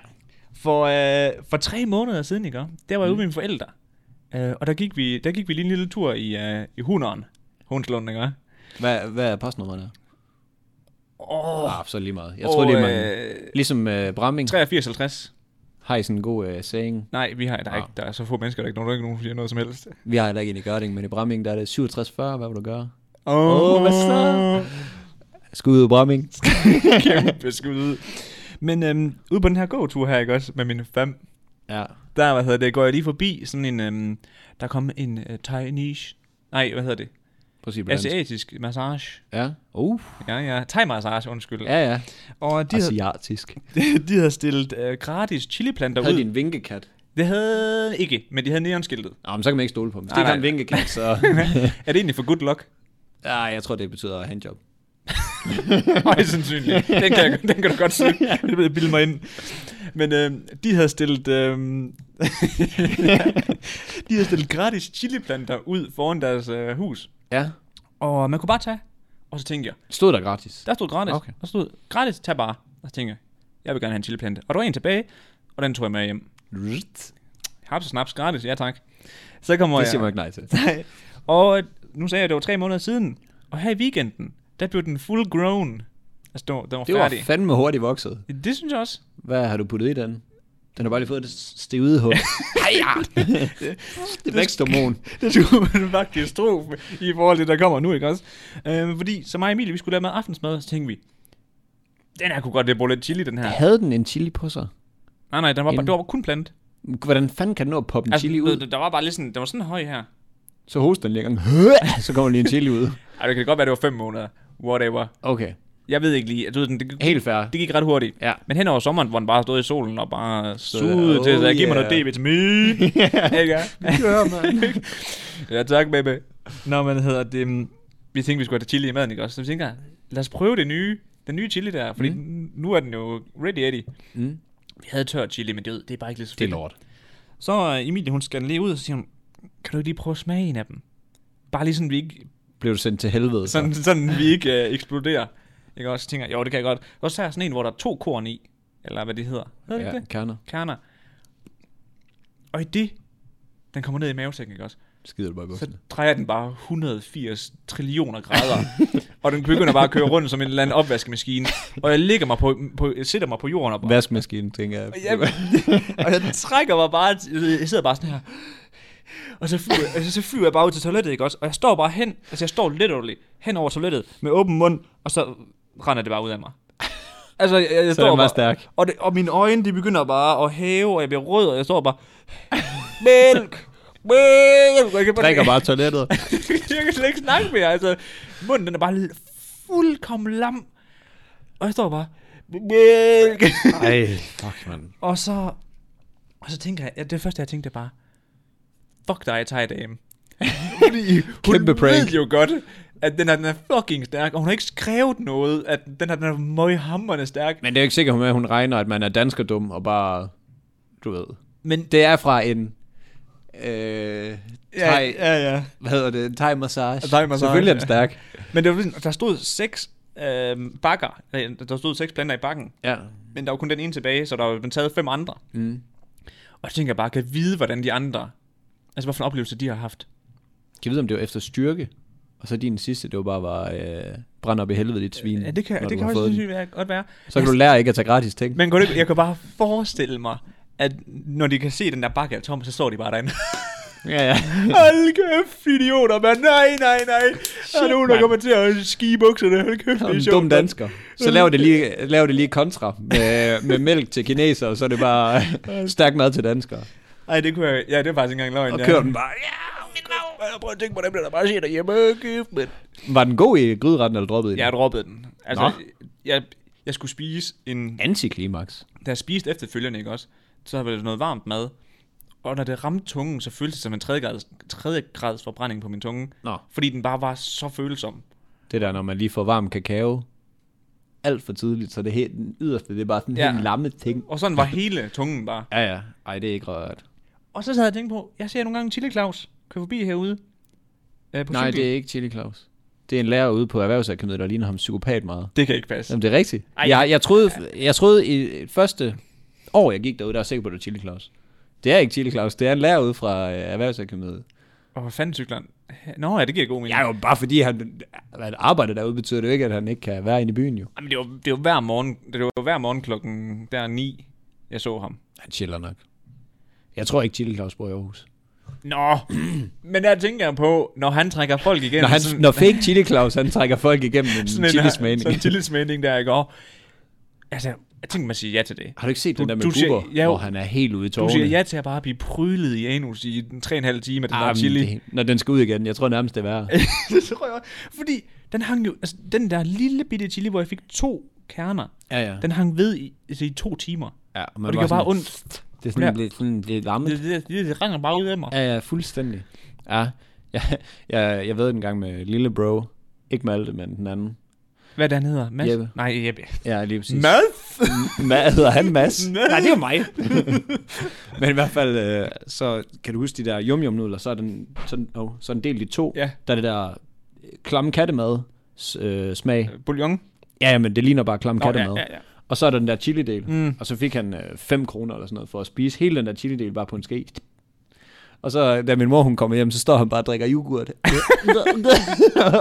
S1: For, øh, for tre måneder siden, ikke? også? Der var
S2: Mm.
S1: jeg ude med mine forældre. Øh, og der gik, vi, der gik vi lige en lille tur i, øh, i Huneren. Hundslund, ikke? også?
S2: Hvad, hvad er postnummeret der?
S1: Åh,
S2: Oh. Ah, så lige meget. Jeg tror, det er mange.
S1: øh,
S2: Ligesom øh, Bramming
S1: 83-50.
S2: har I sådan en god øh, saying.
S1: Nej, vi har, der, er
S2: Ah.
S1: ikke, der er så få mennesker, der er ikke nogen, der, er ikke nogen der siger noget som helst.
S2: Vi har heller ikke en i Gørding, men i Bramming der er det 67-40. Hvad vil du gøre?
S1: Åh,
S2: Åh, hvad så? Skud ud Bramming.
S1: Kæmpe skud. Men øhm, ude på den her gåtur her, ikke også, med mine fem,
S2: Ja.
S1: der, hvad hedder det, går jeg lige forbi sådan en, øhm, der kom en øh, thai niche. Nej, hvad hedder det?
S2: Prøv at sige det på dansk.
S1: Asiatisk massage.
S2: Ja. Uh.
S1: Ja, ja. Thai-massage, undskyld.
S2: Ja, ja.
S1: Og de, havde,
S2: Asiatisk.
S1: de havde stillet øh, gratis chiliplanter
S2: Havde
S1: ud.
S2: de en vinkekat?
S1: Det havde ikke, men de havde neonskiltet.
S2: Nå, men så kan man ikke stole på dem.
S1: Nej,
S2: Det kan en
S1: nej.
S2: vinkekat, så...
S1: er det egentlig for good luck?
S2: ja, jeg tror, det betyder handjob.
S1: Højst sandsynligt. Den kan, jeg, den kan du godt se. Det vil jeg bilde mig ind. Men øh, de havde stillet... Øh, de havde stillet gratis chiliplanter ud foran deres øh, hus.
S2: Ja.
S1: Og man kunne bare tage. Og så tænkte jeg,
S2: Stod der gratis.
S1: der stod gratis. Okay.
S2: Okay.
S1: Der stod gratis, tag bare. Og så tænkte jeg, jeg vil gerne have en chiliplante. Og der var en tilbage, og den tog jeg med hjem. Haps og snaps gratis, ja tak. Så kommer
S2: Det
S1: jeg.
S2: siger man ikke nej til.
S1: Nej. Og nu sagde jeg, at det var tre måneder siden. Og her i weekenden, der blev den full grown. Altså, den var, den var
S2: Det var
S1: færdig.
S2: fandme hurtigt vokset.
S1: det synes jeg også.
S2: Hvad har du puttet i den? Den har bare lige fået det stivede hug. Ej, ja. Det er væksthormon.
S1: Det skulle man faktisk tro i forhold til, der kommer nu, ikke også? Øh, fordi, så mig og Emilie, vi skulle lave mad aftensmad, og så tænkte vi, den her kunne godt lidt bruge lidt chili, den her.
S2: Havde den en chili på sig?
S1: Nej, nej, den var, bare,
S2: Inden-
S1: det var kun plant.
S2: Hvordan fanden kan den nå at poppe en
S1: Altså,
S2: altså, chili ud?
S1: Der, der var bare lidt sådan, den var sådan høj her.
S2: Så hoster den lige en gang. Så kommer lige en chili ud.
S1: Ej, det kan godt være, det var fem måneder. Whatever.
S2: Okay.
S1: Jeg ved ikke lige, du ved, den- det,
S2: Helt fair.
S1: det gik ret hurtigt.
S2: Ja.
S1: Men hen over sommeren, hvor den bare stod i solen og bare sugede
S2: Sugede,
S1: oh, til sig.
S2: oh
S1: Giv mig
S2: yeah.
S1: noget D-vitamin. Ikke?
S2: Kør, mand.
S1: ja, tak, baby. Nå, men hedder det... mm, Vi tænkte, vi skulle have det chili i maden, ikke også? Så vi tænker, lad os prøve det nye, den nye chili der. Fordi mm. nu er den jo ready eddy.
S2: Mm.
S1: Vi havde tør chili, men det, ved- det er bare ikke lige så
S2: Det er
S1: fedt.
S2: lort.
S1: Så øh, Emilie, hun skal lige ud og siger, hun, kan du ikke lige prøve at smage en af dem? Bare lige sådan, vi ikke,
S2: Blev du sendt til helvede.
S1: sådan, sådan, vi ikke øh, eksploderer. Ikke også Så tænker, jeg, jo, det kan jeg godt. Og så er sådan en, hvor der er to korn i, eller hvad det hedder. Hedder det
S2: ja,
S1: ikke det?
S2: kerner.
S1: Kerner. Og i det, den kommer ned i mavesækken, ikke også?
S2: Skider du bare i
S1: Så
S2: bukserne.
S1: drejer den bare 180 trillioner grader, og den begynder bare at køre rundt som en eller anden opvaskemaskine. Og jeg ligger mig på, på jeg sætter mig på jorden og bare,
S2: Vaskemaskinen, tænker jeg.
S1: og jeg, og jeg trækker mig bare, jeg sidder bare sådan her, og så flyver, altså, så flyver jeg bare ud til toilettet, ikke også? Og jeg står bare hen, altså jeg står literally hen over toilettet med åben mund, og så render det bare ud af mig. Altså, jeg, jeg, jeg
S2: Så er
S1: står
S2: den
S1: bare,
S2: meget stærk.
S1: og, det, og mine øjne, de begynder bare at hæve, og jeg bliver rød, og jeg står bare, mælk, mælk, og jeg kan bare,
S2: Drikker bare toilettet.
S1: jeg kan slet ikke snakke mere, altså, munden den er bare lidt fuldkommen lam, og jeg står bare, mælk,
S2: Ej, fuck, mand.
S1: og så, og så tænker jeg, ja, det første jeg tænkte bare, fuck dig, Thai Dame. Fordi
S2: Kæmpe
S1: hun
S2: prank.
S1: ved jo godt, at den her, den er fucking stærk, og hun har ikke skrevet noget, at den her, den er møghamrende stærk.
S2: Men det er jo ikke sikkert, at hun regner, at man er danskerdum og bare, du ved.
S1: Men
S2: Det er fra en øh,
S1: ja,
S2: thai,
S1: ja, ja.
S2: hvad hedder det, en thai-massage.
S1: Thai-massage,
S2: Selvfølgelig er den
S1: ja.
S2: stærk.
S1: Men det var, sådan, der stod seks øh, bakker, øh, der stod seks planter i bakken,
S2: Ja.
S1: men der var kun den ene tilbage, så der var blevet taget fem andre.
S2: Mm.
S1: Og så tænker jeg bare, kan jeg vide, hvordan de andre, altså hvilken oplevelse de har haft.
S2: Kan jeg vide, om det var efter styrke? Og så din sidste, det var bare var, øh, brænd op i helvede dit svin,
S1: Ja, det kan,
S2: når
S1: det
S2: du
S1: kan
S2: har fået
S1: også
S2: den.
S1: synes jeg godt være.
S2: Så kan du lære ikke at tage gratis ting.
S1: Men kan du ikke- jeg kan bare forestille mig, at når de kan se den der bakke er tom, så står de bare derinde.
S2: Ja, ja.
S1: Hold kæft, idioter, mand. Nej, nej, nej. Der er nogen, der
S2: mand.
S1: kommer til at ski bukserne. Hold kæft, det
S2: Som
S1: er
S2: en
S1: sjovt.
S2: dum
S1: mand.
S2: dansker. Så laver det lige, laver det lige kontra med, med mælk til kineser, og så er det bare stærk mad til danskere.
S1: Ej, det kunne jeg... Ja, det er faktisk ikke engang løgn.
S2: Og
S1: ja.
S2: kører den bare.
S1: Ja, mit navn. Prøv at tænke på dem, der bare siger derhjemme. Kæft, mand.
S2: Var den god i gryderetten, eller droppede i den?
S1: Jeg droppede den. Altså,
S2: Nå.
S1: jeg, jeg skulle spise en...
S2: Antiklimaks.
S1: Da jeg spiste efterfølgende, ikke også? Så var det noget varmt mad. Og når det ramte tungen, så føltes det som en tredje grads, tredje grads forbrænding på min tunge.
S2: Nå.
S1: Fordi den bare var så følsom.
S2: Det der, når man lige får varm kakao alt for tidligt, så det helt, den yderste, det er bare sådan en
S1: Ja.
S2: ja. helt lamme ting.
S1: Og sådan var hele tungen bare.
S2: Ja, ja. Ej, det er ikke rørt.
S1: Og så sad jeg og tænkte på, jeg ser nogle gange Chili Claus køre forbi herude. Øh, på
S2: Nej,
S1: cykel.
S2: det er ikke Chili Claus. Det er en lærer ude på Erhvervsakademiet, der ligner ham psykopat meget.
S1: det kan ikke passe.
S2: Jamen, det er rigtigt.
S1: Ej.
S2: Jeg, jeg, troede, jeg troede i første år, jeg gik derude, der var jeg sikker på, at det var Chili Claus. Det er ikke Chili Claus, det er en lærer ude fra øh, Erhvervsakademiet.
S1: Og hvad fanden cykler han? Nå, ja, det giver god mening.
S2: Ja, jo, bare fordi han, han arbejder derude, betyder det jo ikke, at han ikke kan være inde i byen jo.
S1: Jamen, det var, det var hver morgen, det var hver morgen klokken der 9, jeg så ham.
S2: Han chiller nok. Jeg tror ikke, Chili Claus bor i Aarhus.
S1: Nå, men der tænker jeg på, når han trækker folk igennem.
S2: Når, han,
S1: sådan-
S2: når fake Chili Claus, han trækker folk igennem en
S1: sådan en-
S2: chilismagning.
S1: Sådan en chilismagning der, ikke? Og, altså, jeg tænkte, man siger ja til det.
S2: Har du ikke set
S1: Du-
S2: den der med
S1: du siger-
S2: Bubber,
S1: ja, jo.
S2: hvor han er helt ude i
S1: Du
S2: tårerne?
S1: siger ja til at bare blive prylet i anus i den 3,5 time af den der
S2: Ah,
S1: chili.
S2: chili. Det, når den skal ud igen, jeg tror nærmest, det er værre.
S1: det tror jeg også. Fordi den hang jo, altså den der lille bitte chili, hvor jeg fik to kerner,
S2: Ja, ja.
S1: den hang ved i, altså, i to timer.
S2: ja og man
S1: Og det gør
S2: sådan-
S1: bare ondt.
S2: Det er
S1: Ja.
S2: sådan lidt, sådan lidt lammet.
S1: Det, det, det, det ringer bare ud af mig.
S2: Ja, ja, fuldstændig. Ja, jeg, jeg, jeg ved en gang med lille bro, ikke Malte, men den anden.
S1: Hvad er det, han hedder? Mads?
S2: Jeppe.
S1: Nej, Jeppe.
S2: Ja, lige præcis.
S1: Mads?
S2: Hvad hedder han
S1: Mads.
S2: Mads? Nej, det er jo mig. men i hvert fald, øh, så kan du huske de der yum yum nudler, så er den, sådan, oh, så er den delt i to.
S1: Ja.
S2: Der er det der øh, klamme kattemad s- øh, smag.
S1: Bouillon.
S2: Ja, ja, men det ligner bare klamme
S1: Nå,
S2: kattemad.
S1: ja, ja, ja.
S2: Og så er der den der chili-del.
S1: Mm.
S2: Og så fik han 5 kroner eller sådan noget for at spise. Hele den der chili-del bare på en ske. Og så, da min mor hun kommer hjem, så står han bare og drikker yoghurt.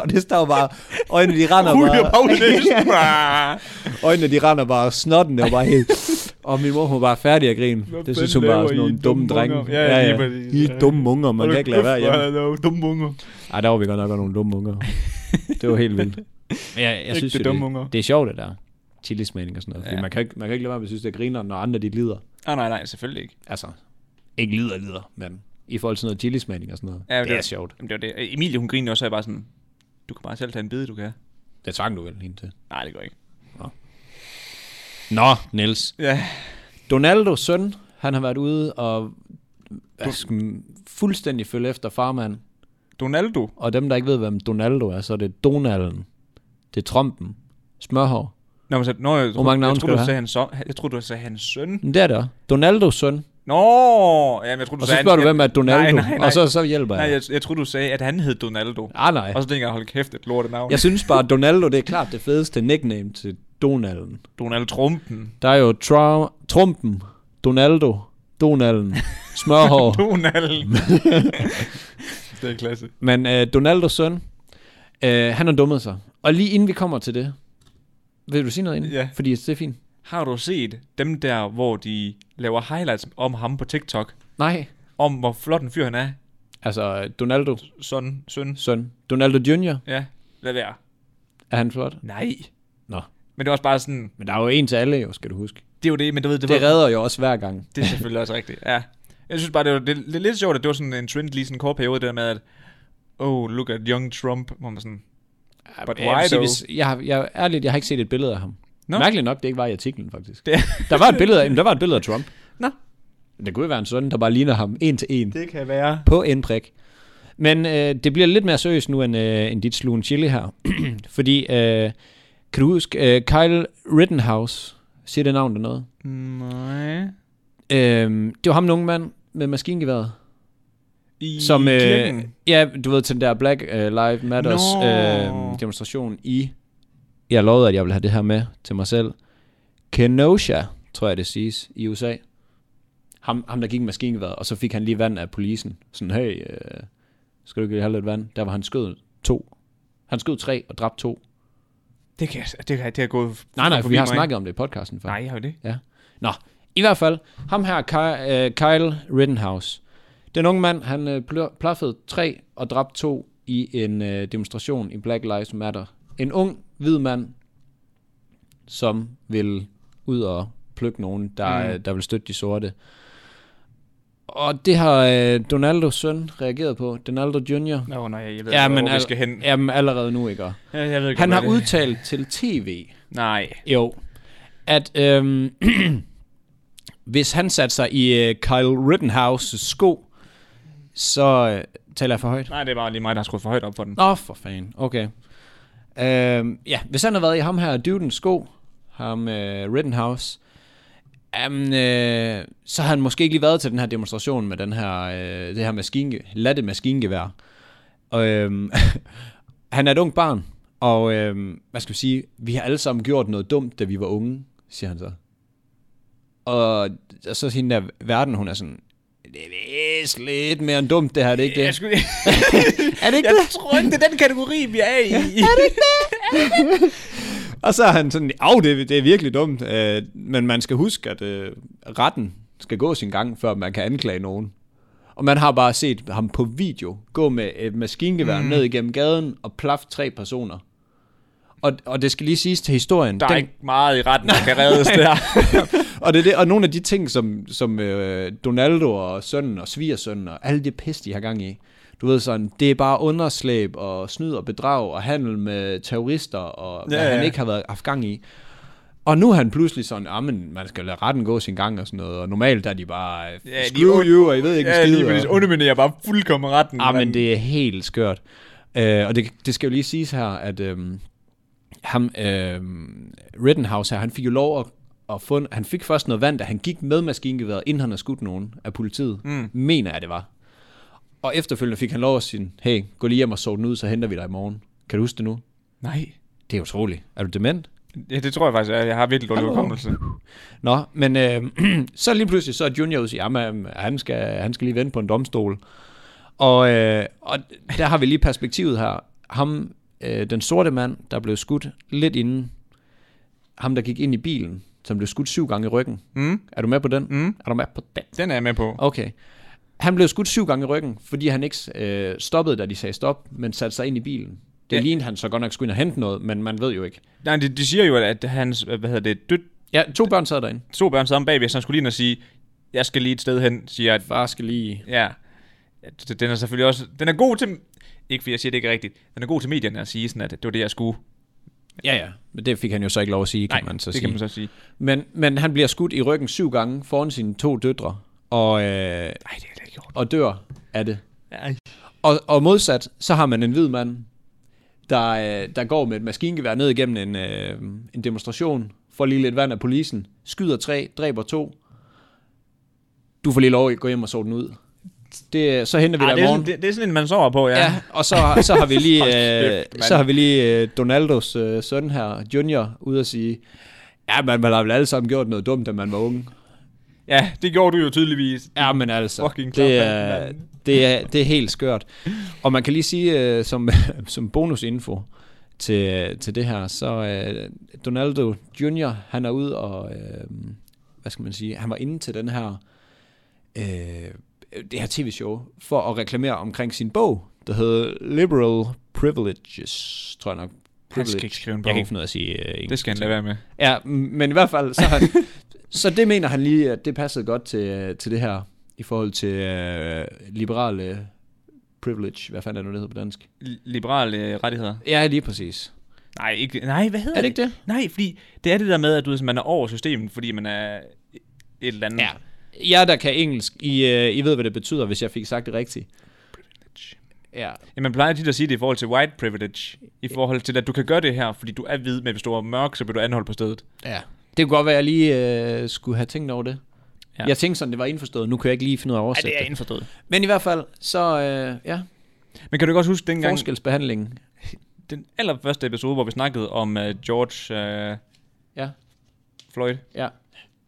S2: og det står bare, øjnene de render
S1: Ud af
S2: bare,
S1: bagnæsen.
S2: øjnene de render bare, og snotten er bare helt, og min mor hun var bare færdig at grine.
S1: Hvad
S2: det synes hun
S1: fanden
S2: bare
S1: laver
S2: er sådan
S1: I,
S2: nogle dumme
S1: dumme
S2: drenge.
S1: unger? Ja, ja, lige præcis.
S2: I er
S1: Ja.
S2: dumme unger, man kan ikke lade være hjemme.
S1: hjemme. Dumme unger.
S2: Ej, der var vi godt nok også nogle dumme unger. Det var helt vildt. Men jeg, jeg
S1: Ægte
S2: synes jo,
S1: dumme
S2: det,
S1: unger.
S2: det er sjovt, det der chilismagning og sådan noget. Ja.
S1: Ja.
S2: Fordi man kan, ikke, man kan ikke lade være med at synes, det griner, når andre de lider.
S1: Ah, nej, nej, selvfølgelig ikke.
S2: Altså, ikke lider, lider, men i forhold til noget chilismagning og sådan noget.
S1: Ja,
S2: det er sjovt.
S1: Jamen, det var det. Emilie, hun grinede også, og jeg bare sådan, du kan bare selv tage en bid, du kan.
S2: Det tvang du vel hende til.
S1: Nej, det går ikke.
S2: Nå, Niels.
S1: Ja.
S2: Donaldos søn, han har været ude og hvad skal man- fuldstændig følge efter farmand.
S1: Donaldo.
S2: Og dem, der ikke ved, hvem Donaldo er, så er det Donalden. Det er Trumpen. Smørhår.
S1: Nå, men så, nå, jeg,
S2: mange
S1: tror,
S2: navne
S1: jeg,
S2: skal
S1: tror,
S2: du
S1: du
S2: have?
S1: sagde hans son. Jeg tror, du sagde hans søn.
S2: Men det er det også. Donaldos søn.
S1: Nå, jamen, jeg tror, du
S2: Og så
S1: sagde...
S2: spørger du,
S1: han-
S2: hvem er Donaldo?
S1: Nej, nej, nej.
S2: Og så, så hjælper
S1: Nej,
S2: jeg.
S1: jeg, jeg tror, du sagde, at han hed Donaldo.
S2: Ah, nej.
S1: Og så tænker jeg, hold kæft, et lortet navn.
S2: Jeg synes bare, at Donaldo, det er klart det fedeste nickname til Donalden.
S1: Donald Trumpen.
S2: Der er jo Tra- Trumpen, Donaldo, Donalden, Smørhår.
S1: Donald. det er klasse.
S2: Men øh, Donaldos søn, øh, han har dummet sig. Og lige inden vi kommer til det, vil du sige noget inden?
S1: Ja.
S2: Fordi det er fint.
S1: Har du set dem der, hvor de laver highlights om ham på TikTok?
S2: Nej.
S1: Om hvor flot en fyr han er?
S2: Altså, øh, Donaldo
S1: Sådan, søn.
S2: søn. Donaldo Junior,
S1: Ja, lad være.
S2: er han flot?
S1: Nej.
S2: Nå.
S1: Men det er også bare sådan,
S2: Men der er jo en til alle jo, skal du huske.
S1: det er jo det, men du ved, det,
S2: Det
S1: var,
S2: redder jo også hver gang.
S1: det er selvfølgelig også rigtigt. Ja. Jeg synes bare, det var det, det er lidt sjovt, at det var sådan en trend lige sådan en kort periode, det der med, at oh, look at young Trump, hvor man sådan, But why
S2: Jeg vil sige,
S1: though?
S2: altså, hvis, jeg, har, jeg, ærligt, jeg har ikke set et billede af ham. No.
S1: Nå.
S2: Mærkeligt nok, det ikke var i artiklen, faktisk.
S1: Det-
S2: der, var et billede af, jamen, der var et billede af Trump.
S1: Nå.
S2: Det kunne jo være en sådan, der bare ligner ham en til en.
S1: det kan være.
S2: På en prik. Men øh, det bliver lidt mere seriøst nu, end, øh, end dit slugen chili her. Fordi, øh, kan du huske, øh, Kyle Rittenhouse, siger det navn der noget?
S1: Nej.
S2: Øh, det var ham, en unge mand med maskingeværet.
S1: I
S2: Som, øh,
S1: kirken.
S2: ja, du ved, til den der Black øh, Lives Matters
S1: Nå.
S2: øh, demonstration i, jeg lovede, at jeg ville have det her med til mig selv, Kenosha, tror jeg det siges, i USA. Ham, ham der gik med maskingevær, og så fik han lige vand af polisen. Sådan, hey, øh, skal du ikke lige have lidt vand? Der var han skød to. Han skød tre og dræbte to.
S1: Det kan jeg- det, kan, det har gået
S2: Nej, nej, for
S1: forbi
S2: vi har
S1: mig.
S2: snakket om det i podcasten før.
S1: Nej, har vi det?
S2: Nå, i hvert fald, ham her, Ky- øh, Kyle Rittenhouse. Den unge mand, han øh, pl- plaffede tre og dræbte to i en øh, demonstration i Black Lives Matter. En ung, hvid mand, som vil ud og plukke nogen, der,
S1: Mm.
S2: mm. der vil støtte de sorte. Og det har øh, Donaldos søn reageret på. Donaldo Jr.
S1: Nå, nej, jeg ved
S2: Ja,
S1: ja, ikke,
S2: men
S1: hvor vi
S2: al-
S1: skal hen.
S2: Jamen allerede nu, ikke?
S1: Jeg, jeg ved ikke,
S2: Han
S1: hvad
S2: har
S1: det er.
S2: udtalt til tv,
S1: Nej.
S2: jo. At øhm, hvis han satte sig i øh, Kyle Rittenhouse's sko, så øh, taler jeg for højt.
S1: Nej, det er bare lige mig, der har skruet for højt op for den.
S2: Nå, for fanden. Okay. Øhm, ja, hvis han har været i ham her dudens sko, ham øh, Rittenhouse, jamen, øh, så har han måske ikke lige været til den her demonstration med den her, øh, det her maskinge, latte maskingevær. Og, øhm, han er et ung barn, og øhm, hvad skal vi sige, vi har alle sammen gjort noget dumt, da vi var unge, siger han så. Og, og så hende der verden, hun er sådan, det er vist lidt mere end dumt det her, det er ikke
S1: Jeg,
S2: det?
S1: skulle,
S2: Er det ikke
S1: jeg
S2: det?
S1: tror ikke, det er den kategori, vi er i.
S2: Og så er han sådan, af det, er- det er virkelig dumt, øh, men man skal huske, at øh, retten skal gå sin gang, før man kan anklage nogen. Og man har bare set ham på video gå med et maskingevær mm. ned igennem gaden og plaffe tre personer. Og, og det skal lige siges til historien.
S1: Der er ikke meget i retten, der kan reddes der.
S2: og, det er det, og nogle af de ting, som, som øh, Donaldo og sønnen og svigersønnen og alle det pis, de har gang i. Du ved sådan, det er bare underslæb og snyd og bedrag og handel med terrorister og ja,
S1: Ja,
S2: hvad ja. han
S1: ja.
S2: ikke har været haft gang i. Og nu er han pludselig sådan, ah, men man skal lade retten gå sin gang og sådan noget. Og normalt der er de bare,
S1: Ja,
S2: ja,
S1: de
S2: screw
S1: er-
S2: you, og I ved ikke,
S1: ja,
S2: en
S1: lige
S2: skid.
S1: præcis.
S2: og-
S1: Underminerer bare fuldkommen retten.
S2: Ah, men det er helt skørt. Øh, og det, det skal jo lige siges her, at øhm, ham, øhm, Rittenhouse her, han fik jo lov at, at få, han fik først noget vand, da han gik med maskingeværet, inden han havde skudt nogen af politiet. Mm. Mener jeg, det var. Og efterfølgende fik han lov at sige, hey, gå lige hjem og sov den ud, så henter vi dig i morgen. Kan du huske det nu?
S1: Nej.
S2: Det er utroligt. Er du dement?
S1: Ja, det tror jeg faktisk, jeg, jeg har virkelig dårlig
S2: Hallo.
S1: hukommelse.
S2: Nå, men øh, så lige pludselig, så er Junior ude og siger, jamen, øh, han skal, han skal lige vente på en domstol. Og, øh, og der har vi lige perspektivet her. Ham, øh, den sorte mand, der blev skudt lidt inden, ham der gik ind i bilen, som blev skudt syv gange i ryggen.
S1: Mm.
S2: Er du med på den?
S1: Mm.
S2: Er du med på den?
S1: Den er jeg med på.
S2: Okay. Han blev skudt syv gange i ryggen, fordi han ikke øh, stoppede, da de sagde stop, men satte sig ind i bilen. Det
S1: Ja.
S2: ja. lignede han så godt nok skulle ind og hente noget, men man ved jo ikke.
S1: Nej, de, de siger jo, at hans, øh, hvad hedder det, død,
S2: Ja, to børn sad derinde.
S1: to børn sammen bagved, så han skulle lige ind og sige, jeg skal lige et sted hen, siger jeg,
S2: Far skal lige...
S1: Ja. Ja, d- Den er selvfølgelig også... Den er god til... Ikke fordi jeg siger, det ikke er rigtigt. Den er god til medierne at sige sådan, at det var det, jeg skulle.
S2: Ja, ja. Men det fik han jo så ikke lov at sige, kan
S1: Nej,
S2: man så
S1: det
S2: sige.
S1: kan man så sige.
S2: Men, men han bliver skudt i ryggen syv gange foran sine to døtre, og, øh,
S1: Nej, det er det ikke gjort.
S2: og dør af det.
S1: Ej.
S2: Og, og modsat, så har man en hvid mand, der, øh, der går med et maskingevær ned igennem en, øh, en demonstration, får lige lidt vand af polisen, skyder tre, dræber to. Du får lige lov at gå hjem og sove den ud. Det, så henter vi
S1: Ej,
S2: dig i
S1: det, er sådan,
S2: morgen.
S1: det, det er sådan en, man sover på, ja.
S2: Ja, og så, så har vi lige, øh,
S1: kæft, mand.
S2: så har vi lige øh, Donaldos øh, søn her, Junior, ude at sige, ja, man, man har vel alle sammen gjort noget dumt, da man var unge.
S1: ja, det gjorde du jo tydeligvis.
S2: Ja, men altså,
S1: Fucking
S2: det
S1: klaphat,
S2: er,
S1: mand.
S2: det, er, det er helt skørt. Og man kan lige sige, øh, som, som bonusinfo til, til det her, så øh, Donaldo Junior, han er ude og, øh, hvad skal man sige, han var inde til den her, øh, det her tv-show, for at reklamere omkring sin bog, der hedder Liberal Privileges, tror jeg nok.
S1: Han skal ikke skrive en bog.
S2: Jeg kan ikke finde ud af at sige øh,
S1: Det skal han lade være med.
S2: Ja, m- men i hvert fald, så, han, så det mener han lige, at det passede godt til, til det her, i forhold til øh, liberale privilege, hvad fanden er det nu, det hedder på dansk?
S1: Li- Liberale øh, rettigheder.
S2: Ja, lige præcis.
S1: Nej, ikke, nej, hvad hedder
S2: Er det ikke det?
S1: Nej, fordi det er det der med, at du ved, sådan, man er over systemet, fordi man er et eller andet.
S2: Mm. Ja. Jeg, der kan engelsk, I, øh, I ved, hvad det betyder, hvis jeg fik sagt det rigtigt. Ja.
S1: Ja, man plejer tit at sige det i forhold til white privilege, i forhold til, at du kan gøre det her, fordi du er hvid, men hvis du er mørk, så bliver du anholdt på stedet.
S2: ja. Det kunne godt være, at jeg lige øh, skulle have tænkt over det.
S1: Ja.
S2: Ja. Jeg tænkte sådan, det var indforstået. Nu kan jeg ikke lige finde ud af at
S1: Ja,
S2: oversætte
S1: det er
S2: det.
S1: inden for død.
S2: Men i hvert fald, så øh, ja,
S1: Men kan du godt huske dengang,
S2: forskelsbehandlingen.
S1: den allerførste episode, hvor vi snakkede om uh, George uh,
S2: Ja,
S1: Floyd?
S2: ja.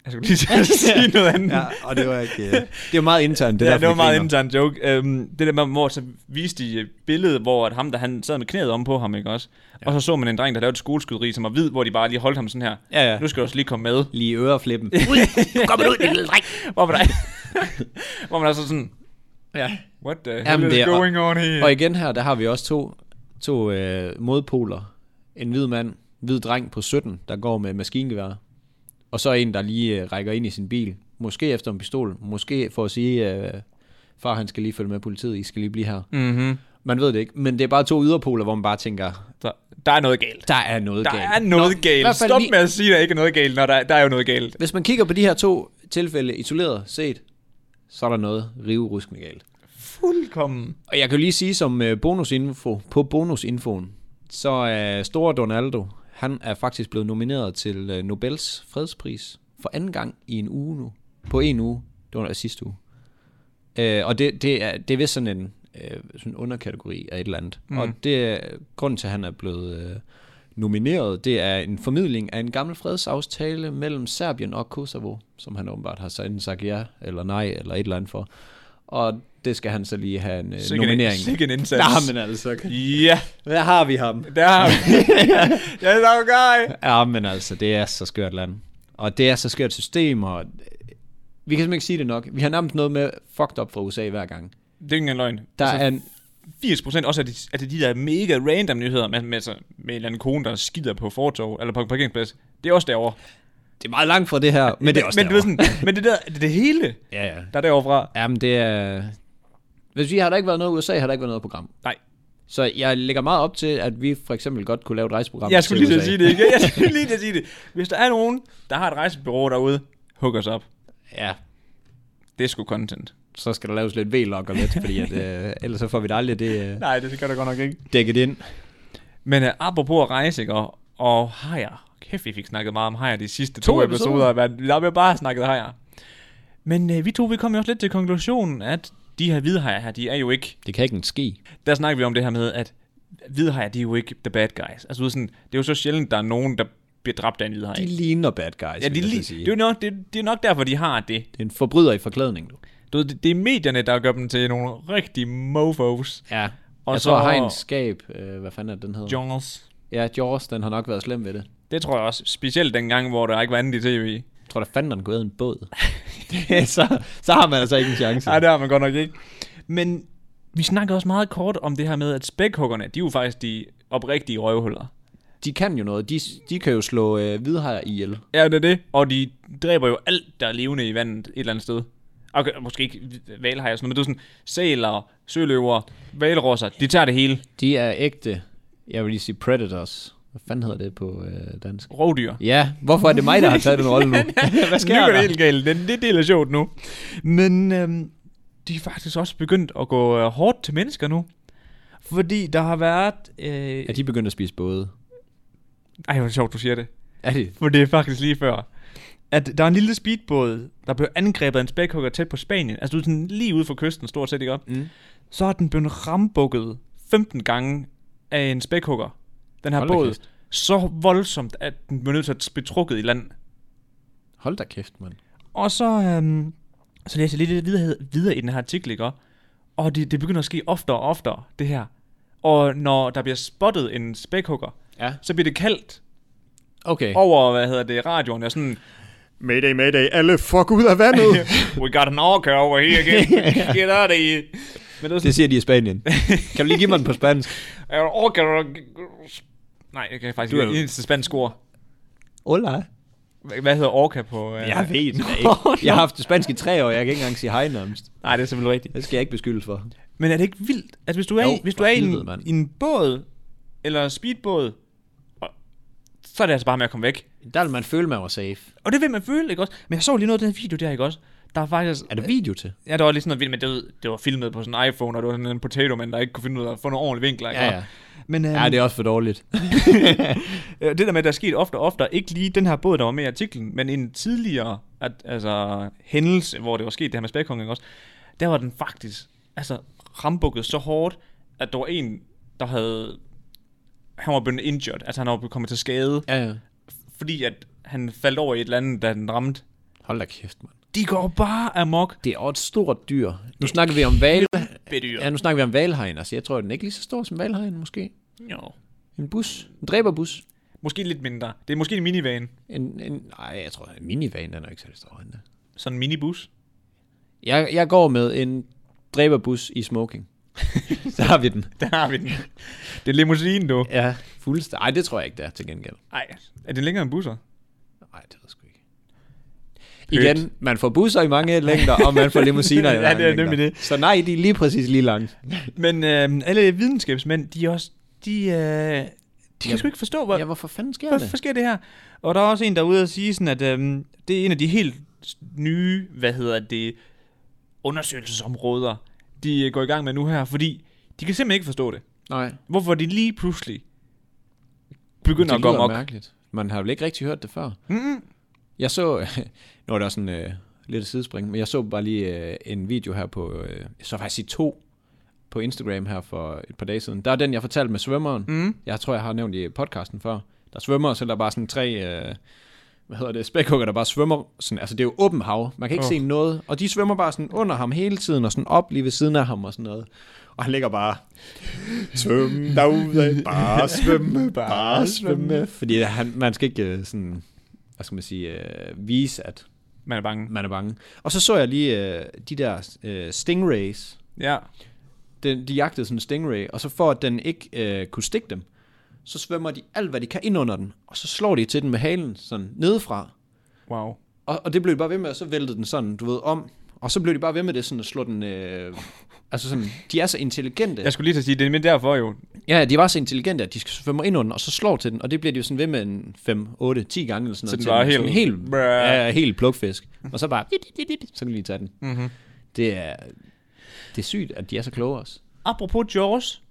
S1: Jeg skulle lige til at sige noget andet. Ja.
S2: og det var ikke... Øh, det var meget internt, det
S1: Det,
S2: der.
S1: ja, det var meget intern joke. Um, det der med, hvor så viste de et billede, hvor at ham, der han sad med knæet om på ham, ikke også? Ja. Og så så man en dreng, der lavede et skoleskyderi, som var hvid, hvor de bare lige holdt ham sådan her.
S2: Ja, ja.
S1: Nu skal du også lige komme med.
S2: Lige øreflippen.
S3: Kom ud, din lille dreng.
S1: Hvor man er, hvor man er så sådan,
S2: ja.
S1: what the hell
S2: Jamen,
S1: is
S2: det er-
S1: going on here?
S2: Og igen her, der har vi også to, to øh, modpoler. En hvid mand, hvid dreng på 17, der går med maskingevær. Og så en, der lige øh, rækker ind i sin bil. Måske efter en pistol. Måske for at sige, øh, far han skal lige følge med politiet, I skal lige blive her.
S1: Mm-hmm.
S2: Man ved det ikke, men det er bare to yderpoler, hvor man bare tænker,
S1: Der, der er noget galt.
S2: der er noget
S1: Der
S2: galt.
S1: er noget Nå,
S2: i
S1: galt.
S2: hvert fald
S1: Stop
S2: lige-
S1: med at sige, der ikke er noget galt, når der, der er jo noget galt.
S2: Hvis man kigger på de her to tilfælde isoleret set, så er der noget riveruskende galt.
S1: Fuldkommen.
S2: Og jeg kan jo lige sige som øh, bonusinfo, på bonusinfoen, så er store Donaldo, han er faktisk blevet nomineret til øh, Nobels fredspris for anden gang i en uge nu. På en uge. Det var sidste uge. Øh, og det, det, er, det er vist sådan en øh, sådan en underkategori af et eller andet. Mm. Og det er grunden til, at han er blevet øh, nomineret, det er en formidling af en gammel fredsaftale mellem Serbien og Kosovo, som han åbenbart har enten sagt ja eller nej eller et eller andet for. Og det skal han så lige have en øh,
S1: Sikke en-
S2: nominering.
S1: sikke en indsats.
S2: Nej, men altså.
S1: Ja,
S2: Hvad har vi ham?
S1: der har vi. Ja, der er guy.
S2: Ja, men altså, det er så skørt land. Og det er så skørt system, og øh, vi kan simpelthen ikke sige det nok. Vi har nærmest noget med fucked up fra USA hver gang.
S1: Det er ikke engang løgn.
S2: Der
S1: altså,
S2: er en,
S1: 80% også er det, er det de der mega random nyheder med, med, altså, med en eller anden kone, der skider på fortov eller på en parkeringsplads. Det er også derovre.
S2: det er meget langt fra det her, men det er også
S1: men,
S2: men,
S1: du ved sådan, men det der, det, er det hele,
S2: Ja, ja.
S1: der er derovre fra.
S2: Jamen, det er... Hvis vi har der ikke været noget USA, har der ikke været noget program.
S1: Nej.
S2: Så jeg lægger meget op til, at vi for eksempel godt kunne lave et rejseprogram
S1: Jeg skulle
S2: til
S1: lige til at
S2: USA.
S1: sige det, ikke? Jeg skulle lige til at sige det. Hvis der er nogen, der har et rejsebureau derude, hook os op.
S2: Ja,
S1: Det er sgu content.
S2: så skal der laves lidt V-log og lidt, fordi at, øh, ellers så får vi det aldrig det øh,
S1: Nej, det gør der godt nok ikke.
S2: dækket ind.
S1: Men uh, apropos at rejse, ikke? Og, og hajer. Kæft, vi fik snakket meget om hajer de sidste to, to
S2: episoder.
S1: episoder. episoder. Der blev bare snakket hajer. Men uh, vi to, vi kom jo også lidt til konklusionen, at de her hvide hajer her, de er jo ikke
S2: Det kan ikke en ske.
S1: der snakker vi om det her med, at hvidhajer, de er jo ikke the bad guys. Altså, du ved sådan, det er jo så sjældent, der er nogen, der bliver dræbt af en hvidhaj.
S2: De ligner bad guys,
S1: ja, de,
S2: vil jeg
S1: lige,
S2: så sige.
S1: det, er jo nok, det, det er nok derfor, de har det.
S2: Det er en forbryder i forklædning, du.
S1: Du ved, det, det er medierne, der gør dem til nogle rigtige mofos.
S2: Ja.
S1: Og
S2: Og jeg
S1: så-
S2: så tror, Heinz Skab, øh, hvad fanden er det, den hedder?
S1: Jungles.
S2: Ja, Jaws, den har nok været slem ved det.
S1: Det tror jeg også. Specielt dengang, hvor der ikke var andet i tv.
S2: Jeg tror da fanden, han kunne æde en båd. så, så har man altså ikke en chance.
S1: Nej, det har man godt nok ikke. Men vi snakkede også meget kort om det her med, at spækhuggerne, de er jo faktisk de oprigtige røvhuller.
S2: De kan jo noget. De, de kan jo slå øh, hvidhajer ihjel.
S1: Ja, det er det. Og de dræber jo alt, der er levende i vandet et eller andet sted. Okay, måske ikke valhajer og sådan noget, men det er sådan, sæler, søløver, valrosser, de tager det hele.
S2: De er ægte, jeg vil lige sige predators. Hvad fanden hedder det på øh, dansk?
S1: Rovdyr.
S2: Ja, hvorfor er det mig, der har taget den rolle nu? Hvad sker
S1: nu er det
S2: der?
S1: helt galt. Den, det del er sjovt nu. Men øhm, de er faktisk også begyndt at gå øh, hårdt til mennesker nu. Fordi der har været... Øh,
S2: Er de begyndt at spise både?
S1: Ej, hvor er det sjovt, du siger det.
S2: Er det?
S1: For det er faktisk lige før. At der er en lille speedbåd, der blev angrebet af en spækhugger tæt på Spanien. Altså du er sådan lige ude for kysten, stort set, ikke op?
S2: Mm.
S1: Så er den blevet rambukket 15 gange af en spækhugger. Den her
S2: Hold da
S1: båd.
S2: kæft.
S1: Så voldsomt, at den blev nødt til at blive trukket i land.
S2: Hold da kæft, mand.
S1: Og så, øhm, så læser jeg lidt videre, videre i den her artikel, ikke? Og det, det begynder at ske oftere og oftere, det her. Og når der bliver spottet en spækhugger,
S2: Ja.
S1: så bliver det kaldt
S2: Okay.
S1: over, hvad hedder det, radioen, og sådan,
S2: Mayday, mayday, alle fuck ud af vandet!
S1: We got an orca over here again. Get out of here. Men det var
S2: det
S1: sådan,
S2: siger de i Spanien. kan du lige give mig den på spansk?
S1: "An orca... Nej, jeg kan faktisk
S2: Du er
S1: ikke.
S2: jo-
S1: Eneste spansk ord.
S2: Hola.
S1: Hvad hvad hedder orca på... Uh...
S2: ved det ikke. Jeg har haft spansk i tre år, jeg kan ikke engang sige hej nærmest.
S1: Nej, det er selvfølgelig rigtigt.
S2: Det skal jeg ikke beskyldes for.
S1: Men er det ikke vildt? Altså, hvis du er, jo,
S2: Jo,
S1: hvis du
S2: for
S1: er i,
S2: helvede,
S1: en,
S2: mand.
S1: i en båd, eller speedbåd, og- så er det altså bare med at komme væk.
S2: Der vil man føle, man var safe.
S1: Og det vil man føle, ikke også? Men jeg så lige noget af den her video der, ikke også? Der er faktisk...
S2: Er der video til?
S1: Ja, der var lige sådan noget vildt, men det, var- det var filmet på sådan en iPhone, og det var sådan en potato man, der ikke kunne finde ud af at få nogle ordentlige vinkler, ikke?
S2: Ja, ja.
S1: Men, øhm,
S2: Ja, det er også for dårligt.
S1: Øh, det der med, at der er sket ofte og ofte, ikke lige den her båd, der var med i artiklen, men en tidligere at, altså, hændelse, hvor det var sket det her med spækhungring også, der var den faktisk altså, rambukket så hårdt, at der var en, der havde... Han var blevet injured, altså han var kommet til skade,
S2: Ja, ja.
S1: fordi at han faldt over i et eller andet, da den ramte.
S2: Hold da kæft, mand.
S1: De går bare amok.
S2: Det er også et stort dyr. Nu snakker vi om val.
S1: Bedyr.
S2: Ja, nu snakker vi om valhegn. Altså, jeg tror, den er ikke lige så stor som valhegn, måske.
S1: Jo.
S2: En bus. En dræberbus.
S1: Måske lidt mindre. Det er måske en minivan.
S2: En, en, nej, jeg tror, en minivan, den er ikke særlig stor. Den der.
S1: Sådan en minibus.
S2: Jeg, jeg går med en dræberbus i smoking. så har vi den.
S1: Der har vi den. Det er limousine, du.
S2: Ja, fuldstændig. Nej, det tror jeg ikke, det er til gengæld.
S1: Ej, er det længere end busser?
S2: Nej, det ved jeg sgu ikke. Igen, man får busser i mange længder, og man får limousiner i
S1: Ja,
S2: mange
S1: det er
S2: længder.
S1: nemlig det.
S2: Så nej, de er lige præcis lige langt.
S1: Men øh, alle videnskabsmænd, de er også, de, øh, de kan
S2: Jamen,
S1: sgu ikke forstå, hvor,
S2: Ja, hvorfor fanden sker
S1: hvorfor
S2: det?
S1: sker det her? Og der er også en, der er ude og sige sådan, at øh, det er en af de helt nye, hvad hedder det, undersøgelsesområder, de øh, går i gang med nu her, fordi de kan simpelthen ikke forstå det.
S2: Nej,
S1: Hvorfor de lige pludselig begynder at gå
S2: lyder
S1: amok.
S2: mærkeligt. Man har vel ikke rigtig hørt det før.
S1: Mm-mm.
S2: Jeg så, nu er det også sådan øh, lidt et sidespring, men jeg så bare lige øh, en video her på, øh, så faktisk i to på Instagram her for et par dage siden. Der er den, jeg fortalte med svømmeren.
S1: Mm.
S2: Jeg tror, jeg har nævnt i podcasten før. Der svømmer, så er der bare sådan tre, øh, hvad hedder det, spækhugger, der bare svømmer. Sådan, altså, det er jo åbent hav. Man kan ikke
S1: Åh.
S2: oh. se noget. Og de svømmer bare sådan under ham hele tiden, og sådan op lige ved siden af ham og sådan noget. Og han ligger bare, svøm derude, bare svømme, bare svømme. Fordi han, man skal ikke øh, sådan, hvad skal man sige, øh, vise, at
S1: Man er bange.
S2: man er bange. Og så så jeg lige øh, de der øh, stingrays,
S1: Ja.
S2: den, de jagtede sådan en stingray, og så for at den ikke øh, kunne stikke dem, så svømmer de alt, hvad de kan ind under den, og så slår de til den med halen, sådan nedefra.
S1: Wow.
S2: Og, og det blev de bare ved med, og så væltede den sådan, du ved, om. Og så blev de bare ved med det, sådan at slå den... Øh, altså sådan, de er så intelligente.
S1: Jeg skulle lige til at sige, det er men derfor jo.
S2: Ja, de var så intelligente, at de skal svømme ind under den, og så slår til den, og det bliver de jo sådan ved med en 5, 8, 10 gange eller sådan
S1: Så
S2: noget.
S1: den
S2: til
S1: var
S2: Sådan
S1: helt-
S2: helt,
S1: Brrr.
S2: ja, helt plukfisk. Og så bare, så kan de lige tage den.
S1: Mm-hmm.
S2: Det er, det er sygt, at de er så kloge også.
S1: Apropos Jaws,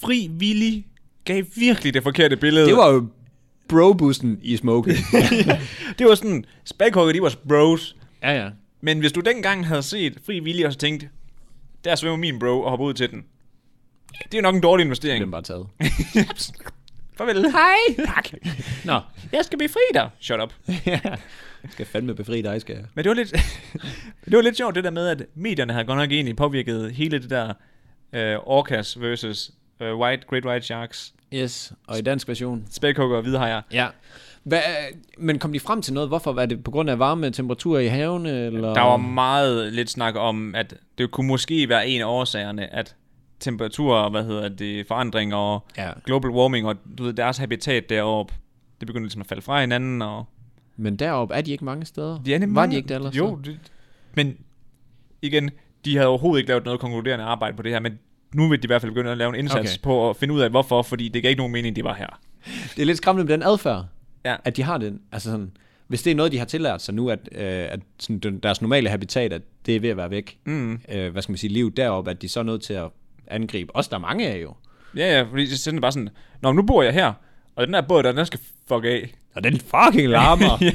S1: fri villig gav virkelig det forkerte billede.
S2: Det var jo brobussen i smoking.
S1: Det var sådan, spækhugger, de var bros.
S2: ja, ja.
S1: Men hvis du dengang havde set Fri Vilje og så tænkt, der svømmer min bro og hopper ud til den. Det er nok en dårlig investering.
S2: Den bare taget.
S1: Farvel. Hej. Tak.
S2: Nå.
S1: Jeg skal blive fri dig. Shut up.
S2: skal fandme befri dig, skal jeg.
S1: Men det var lidt, det var lidt sjovt det der med, at medierne havde godt nok egentlig påvirket hele det der øh, orcas versus øh, white, great white sharks,
S2: Yes, og i dansk version.
S1: spækhugger og hvidhajer.
S2: Ja. Hva, men kom de frem til noget? Hvorfor var det på grund af varme temperaturer i havene? Eller?
S1: Der var meget lidt snak om, at det kunne måske være en af årsagerne, at temperaturer, hvad hedder det, forandring og
S2: Ja,
S1: global warming og du ved, deres habitat deroppe, det begynder ligesom at falde fra hinanden. Og
S2: men deroppe er de ikke mange steder.
S1: de er nemlig
S2: var
S1: mange-
S2: de ikke der ellers?
S1: Jo, det, men igen, de havde overhovedet ikke lavet noget konkluderende arbejde på det her, men nu vil de i hvert fald begynde at lave en indsats okay.
S2: Okay.
S1: på at finde ud af hvorfor, fordi det gav ikke nogen mening, det var her.
S2: det er lidt skræmmende med den adfærd,
S1: Ja.
S2: at de har den. Altså sådan, hvis det er noget, de har tillært sig nu, at, øh, at sådan, den- deres normale habitat, at det er ved at være væk,
S1: Mm.
S2: øh, hvad skal man sige, liv deroppe, at de så er nødt til at angribe. Også der er mange af jo.
S1: Ja, ja, fordi så er det bare sådan, Nå, nu bor jeg her, og den der båd der, den skal fuck af.
S2: Og den fucking larmer.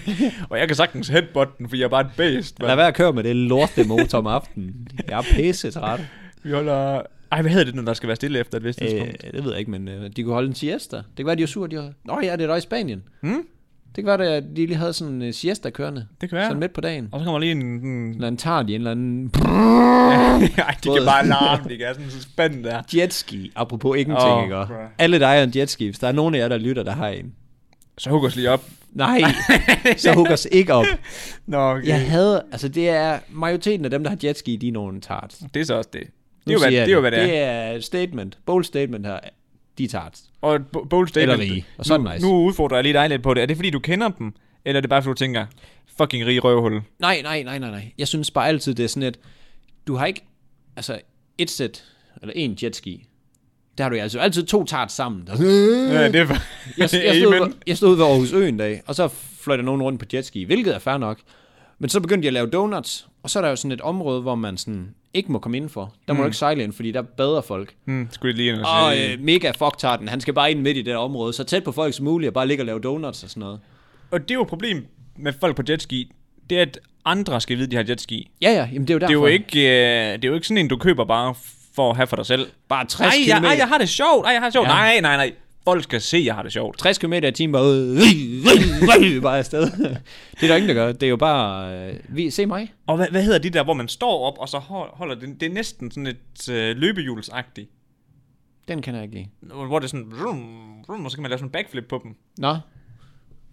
S1: og jeg kan sagtens headbutt den, fordi jeg er bare et bæst.
S2: Lad
S1: mand.
S2: være at køre med det lorte motor om aftenen. Jeg er pisse træt.
S1: Vi holder... Ej, hvad hedder det, når der skal være stille efter et vist tidspunkt?
S2: Øh, det ved jeg ikke, men øh, de kunne holde en siesta. Det kan være, de var sure. De var... Nå ja, det er der i Spanien. Hmm? Det kan være, at de lige havde sådan en øh, siesta kørende.
S1: Det kan være.
S2: Sådan midt på dagen.
S1: Og så kommer lige en... en...
S2: Eller en tard i en eller anden
S1: Ej, de kan bare larme, de kan er sådan så spændt der.
S2: jetski. Apropos ingenting,
S1: Åh,
S2: oh, ikke? også?
S1: bruh.
S2: Alle der ejer en jetski. Hvis der er nogen af jer, der lytter, der har en.
S1: Så hugger os lige op.
S2: Nej, så hug os ikke op.
S1: Nå, okay.
S2: Jeg havde, altså det er, majoriteten af dem, der har jetski, de er nogen tarts.
S1: Det er så også det. Det
S2: Nu
S1: er, jo, hvad,
S2: siger
S1: det,
S2: jeg
S1: er jo, hvad det er.
S2: Det er et statement, bold statement her. De er tarts.
S1: Og et bo- bold statement.
S2: Eller rige. Og så er det nice.
S1: Nu udfordrer jeg lige dig lidt på det. Er det fordi, du kender dem? Eller er det bare, fordi du tænker, fucking rig røvhul?
S2: Nej, nej, nej, nej, nej. Jeg synes bare altid, det er sådan, at du har ikke, altså et sæt, eller en jetski, der har du altså altid to tarts sammen. Der,
S1: Ja, det er bare...
S2: Mm. jeg, jeg, stod, ude- jeg stod ude ved Aarhus Ø en dag, og så fløj der nogen rundt på jetski, hvilket er fair nok. Men så begyndte jeg at lave donuts, og så er der jo sådan et område, hvor man sådan ikke må komme indenfor. Der må du ikke sejle ind, fordi der bader folk.
S1: Hmm, skulle jeg lige ind og
S2: Og
S1: sige.
S2: øh, mega fucktarten, han skal bare ind midt i det der område, så tæt på folk som muligt, og bare ligge og lave donuts og sådan noget.
S1: Og det er jo et problem med folk på jetski. Det er, at andre skal vide, de har jetski.
S2: Ja, ja, jamen det er jo derfor.
S1: Det er jo, ikke, øh, det er jo ikke sådan en, du køber bare for at have for dig selv.
S2: Bare 60
S1: Ej, jeg,
S2: km.
S1: ej, jeg har det sjovt. Ej, jeg har det sjovt.
S2: Ja.
S1: Ja. Nej, nej, nej. Folk skal se, jeg har det sjovt.
S2: 60 km i timen bare, øh, øh, øh, bare afsted. det er der ingen, der gør. Det er jo bare, øh, vi, se mig.
S1: Og hvad, hvad hedder de der, hvor man står op, og så hol- holder det? Det er næsten sådan et øh, løbehjulsagtigt.
S2: Den kan jeg ikke lide.
S1: Hvor det er sådan... Vrum, vrum, og så kan man lave sådan en backflip på dem.
S2: Nå,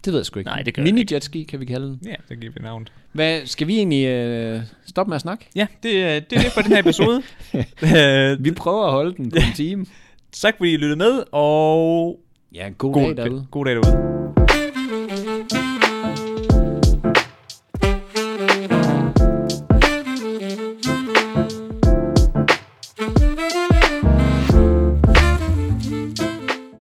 S2: det ved jeg sgu ikke.
S1: Nej, det gør jeg
S2: Mini jetski kan vi kalde den.
S1: Ja, det giver vi navn.
S2: Hvad, skal vi egentlig øh, stoppe med at snakke?
S1: Ja, det, er- det er det for den her episode. øh,
S2: Vi prøver at holde den på en time.
S1: tak fordi I lyttede med, og
S2: Ja, god, god
S1: god,
S2: dag derude.
S1: god dag derude.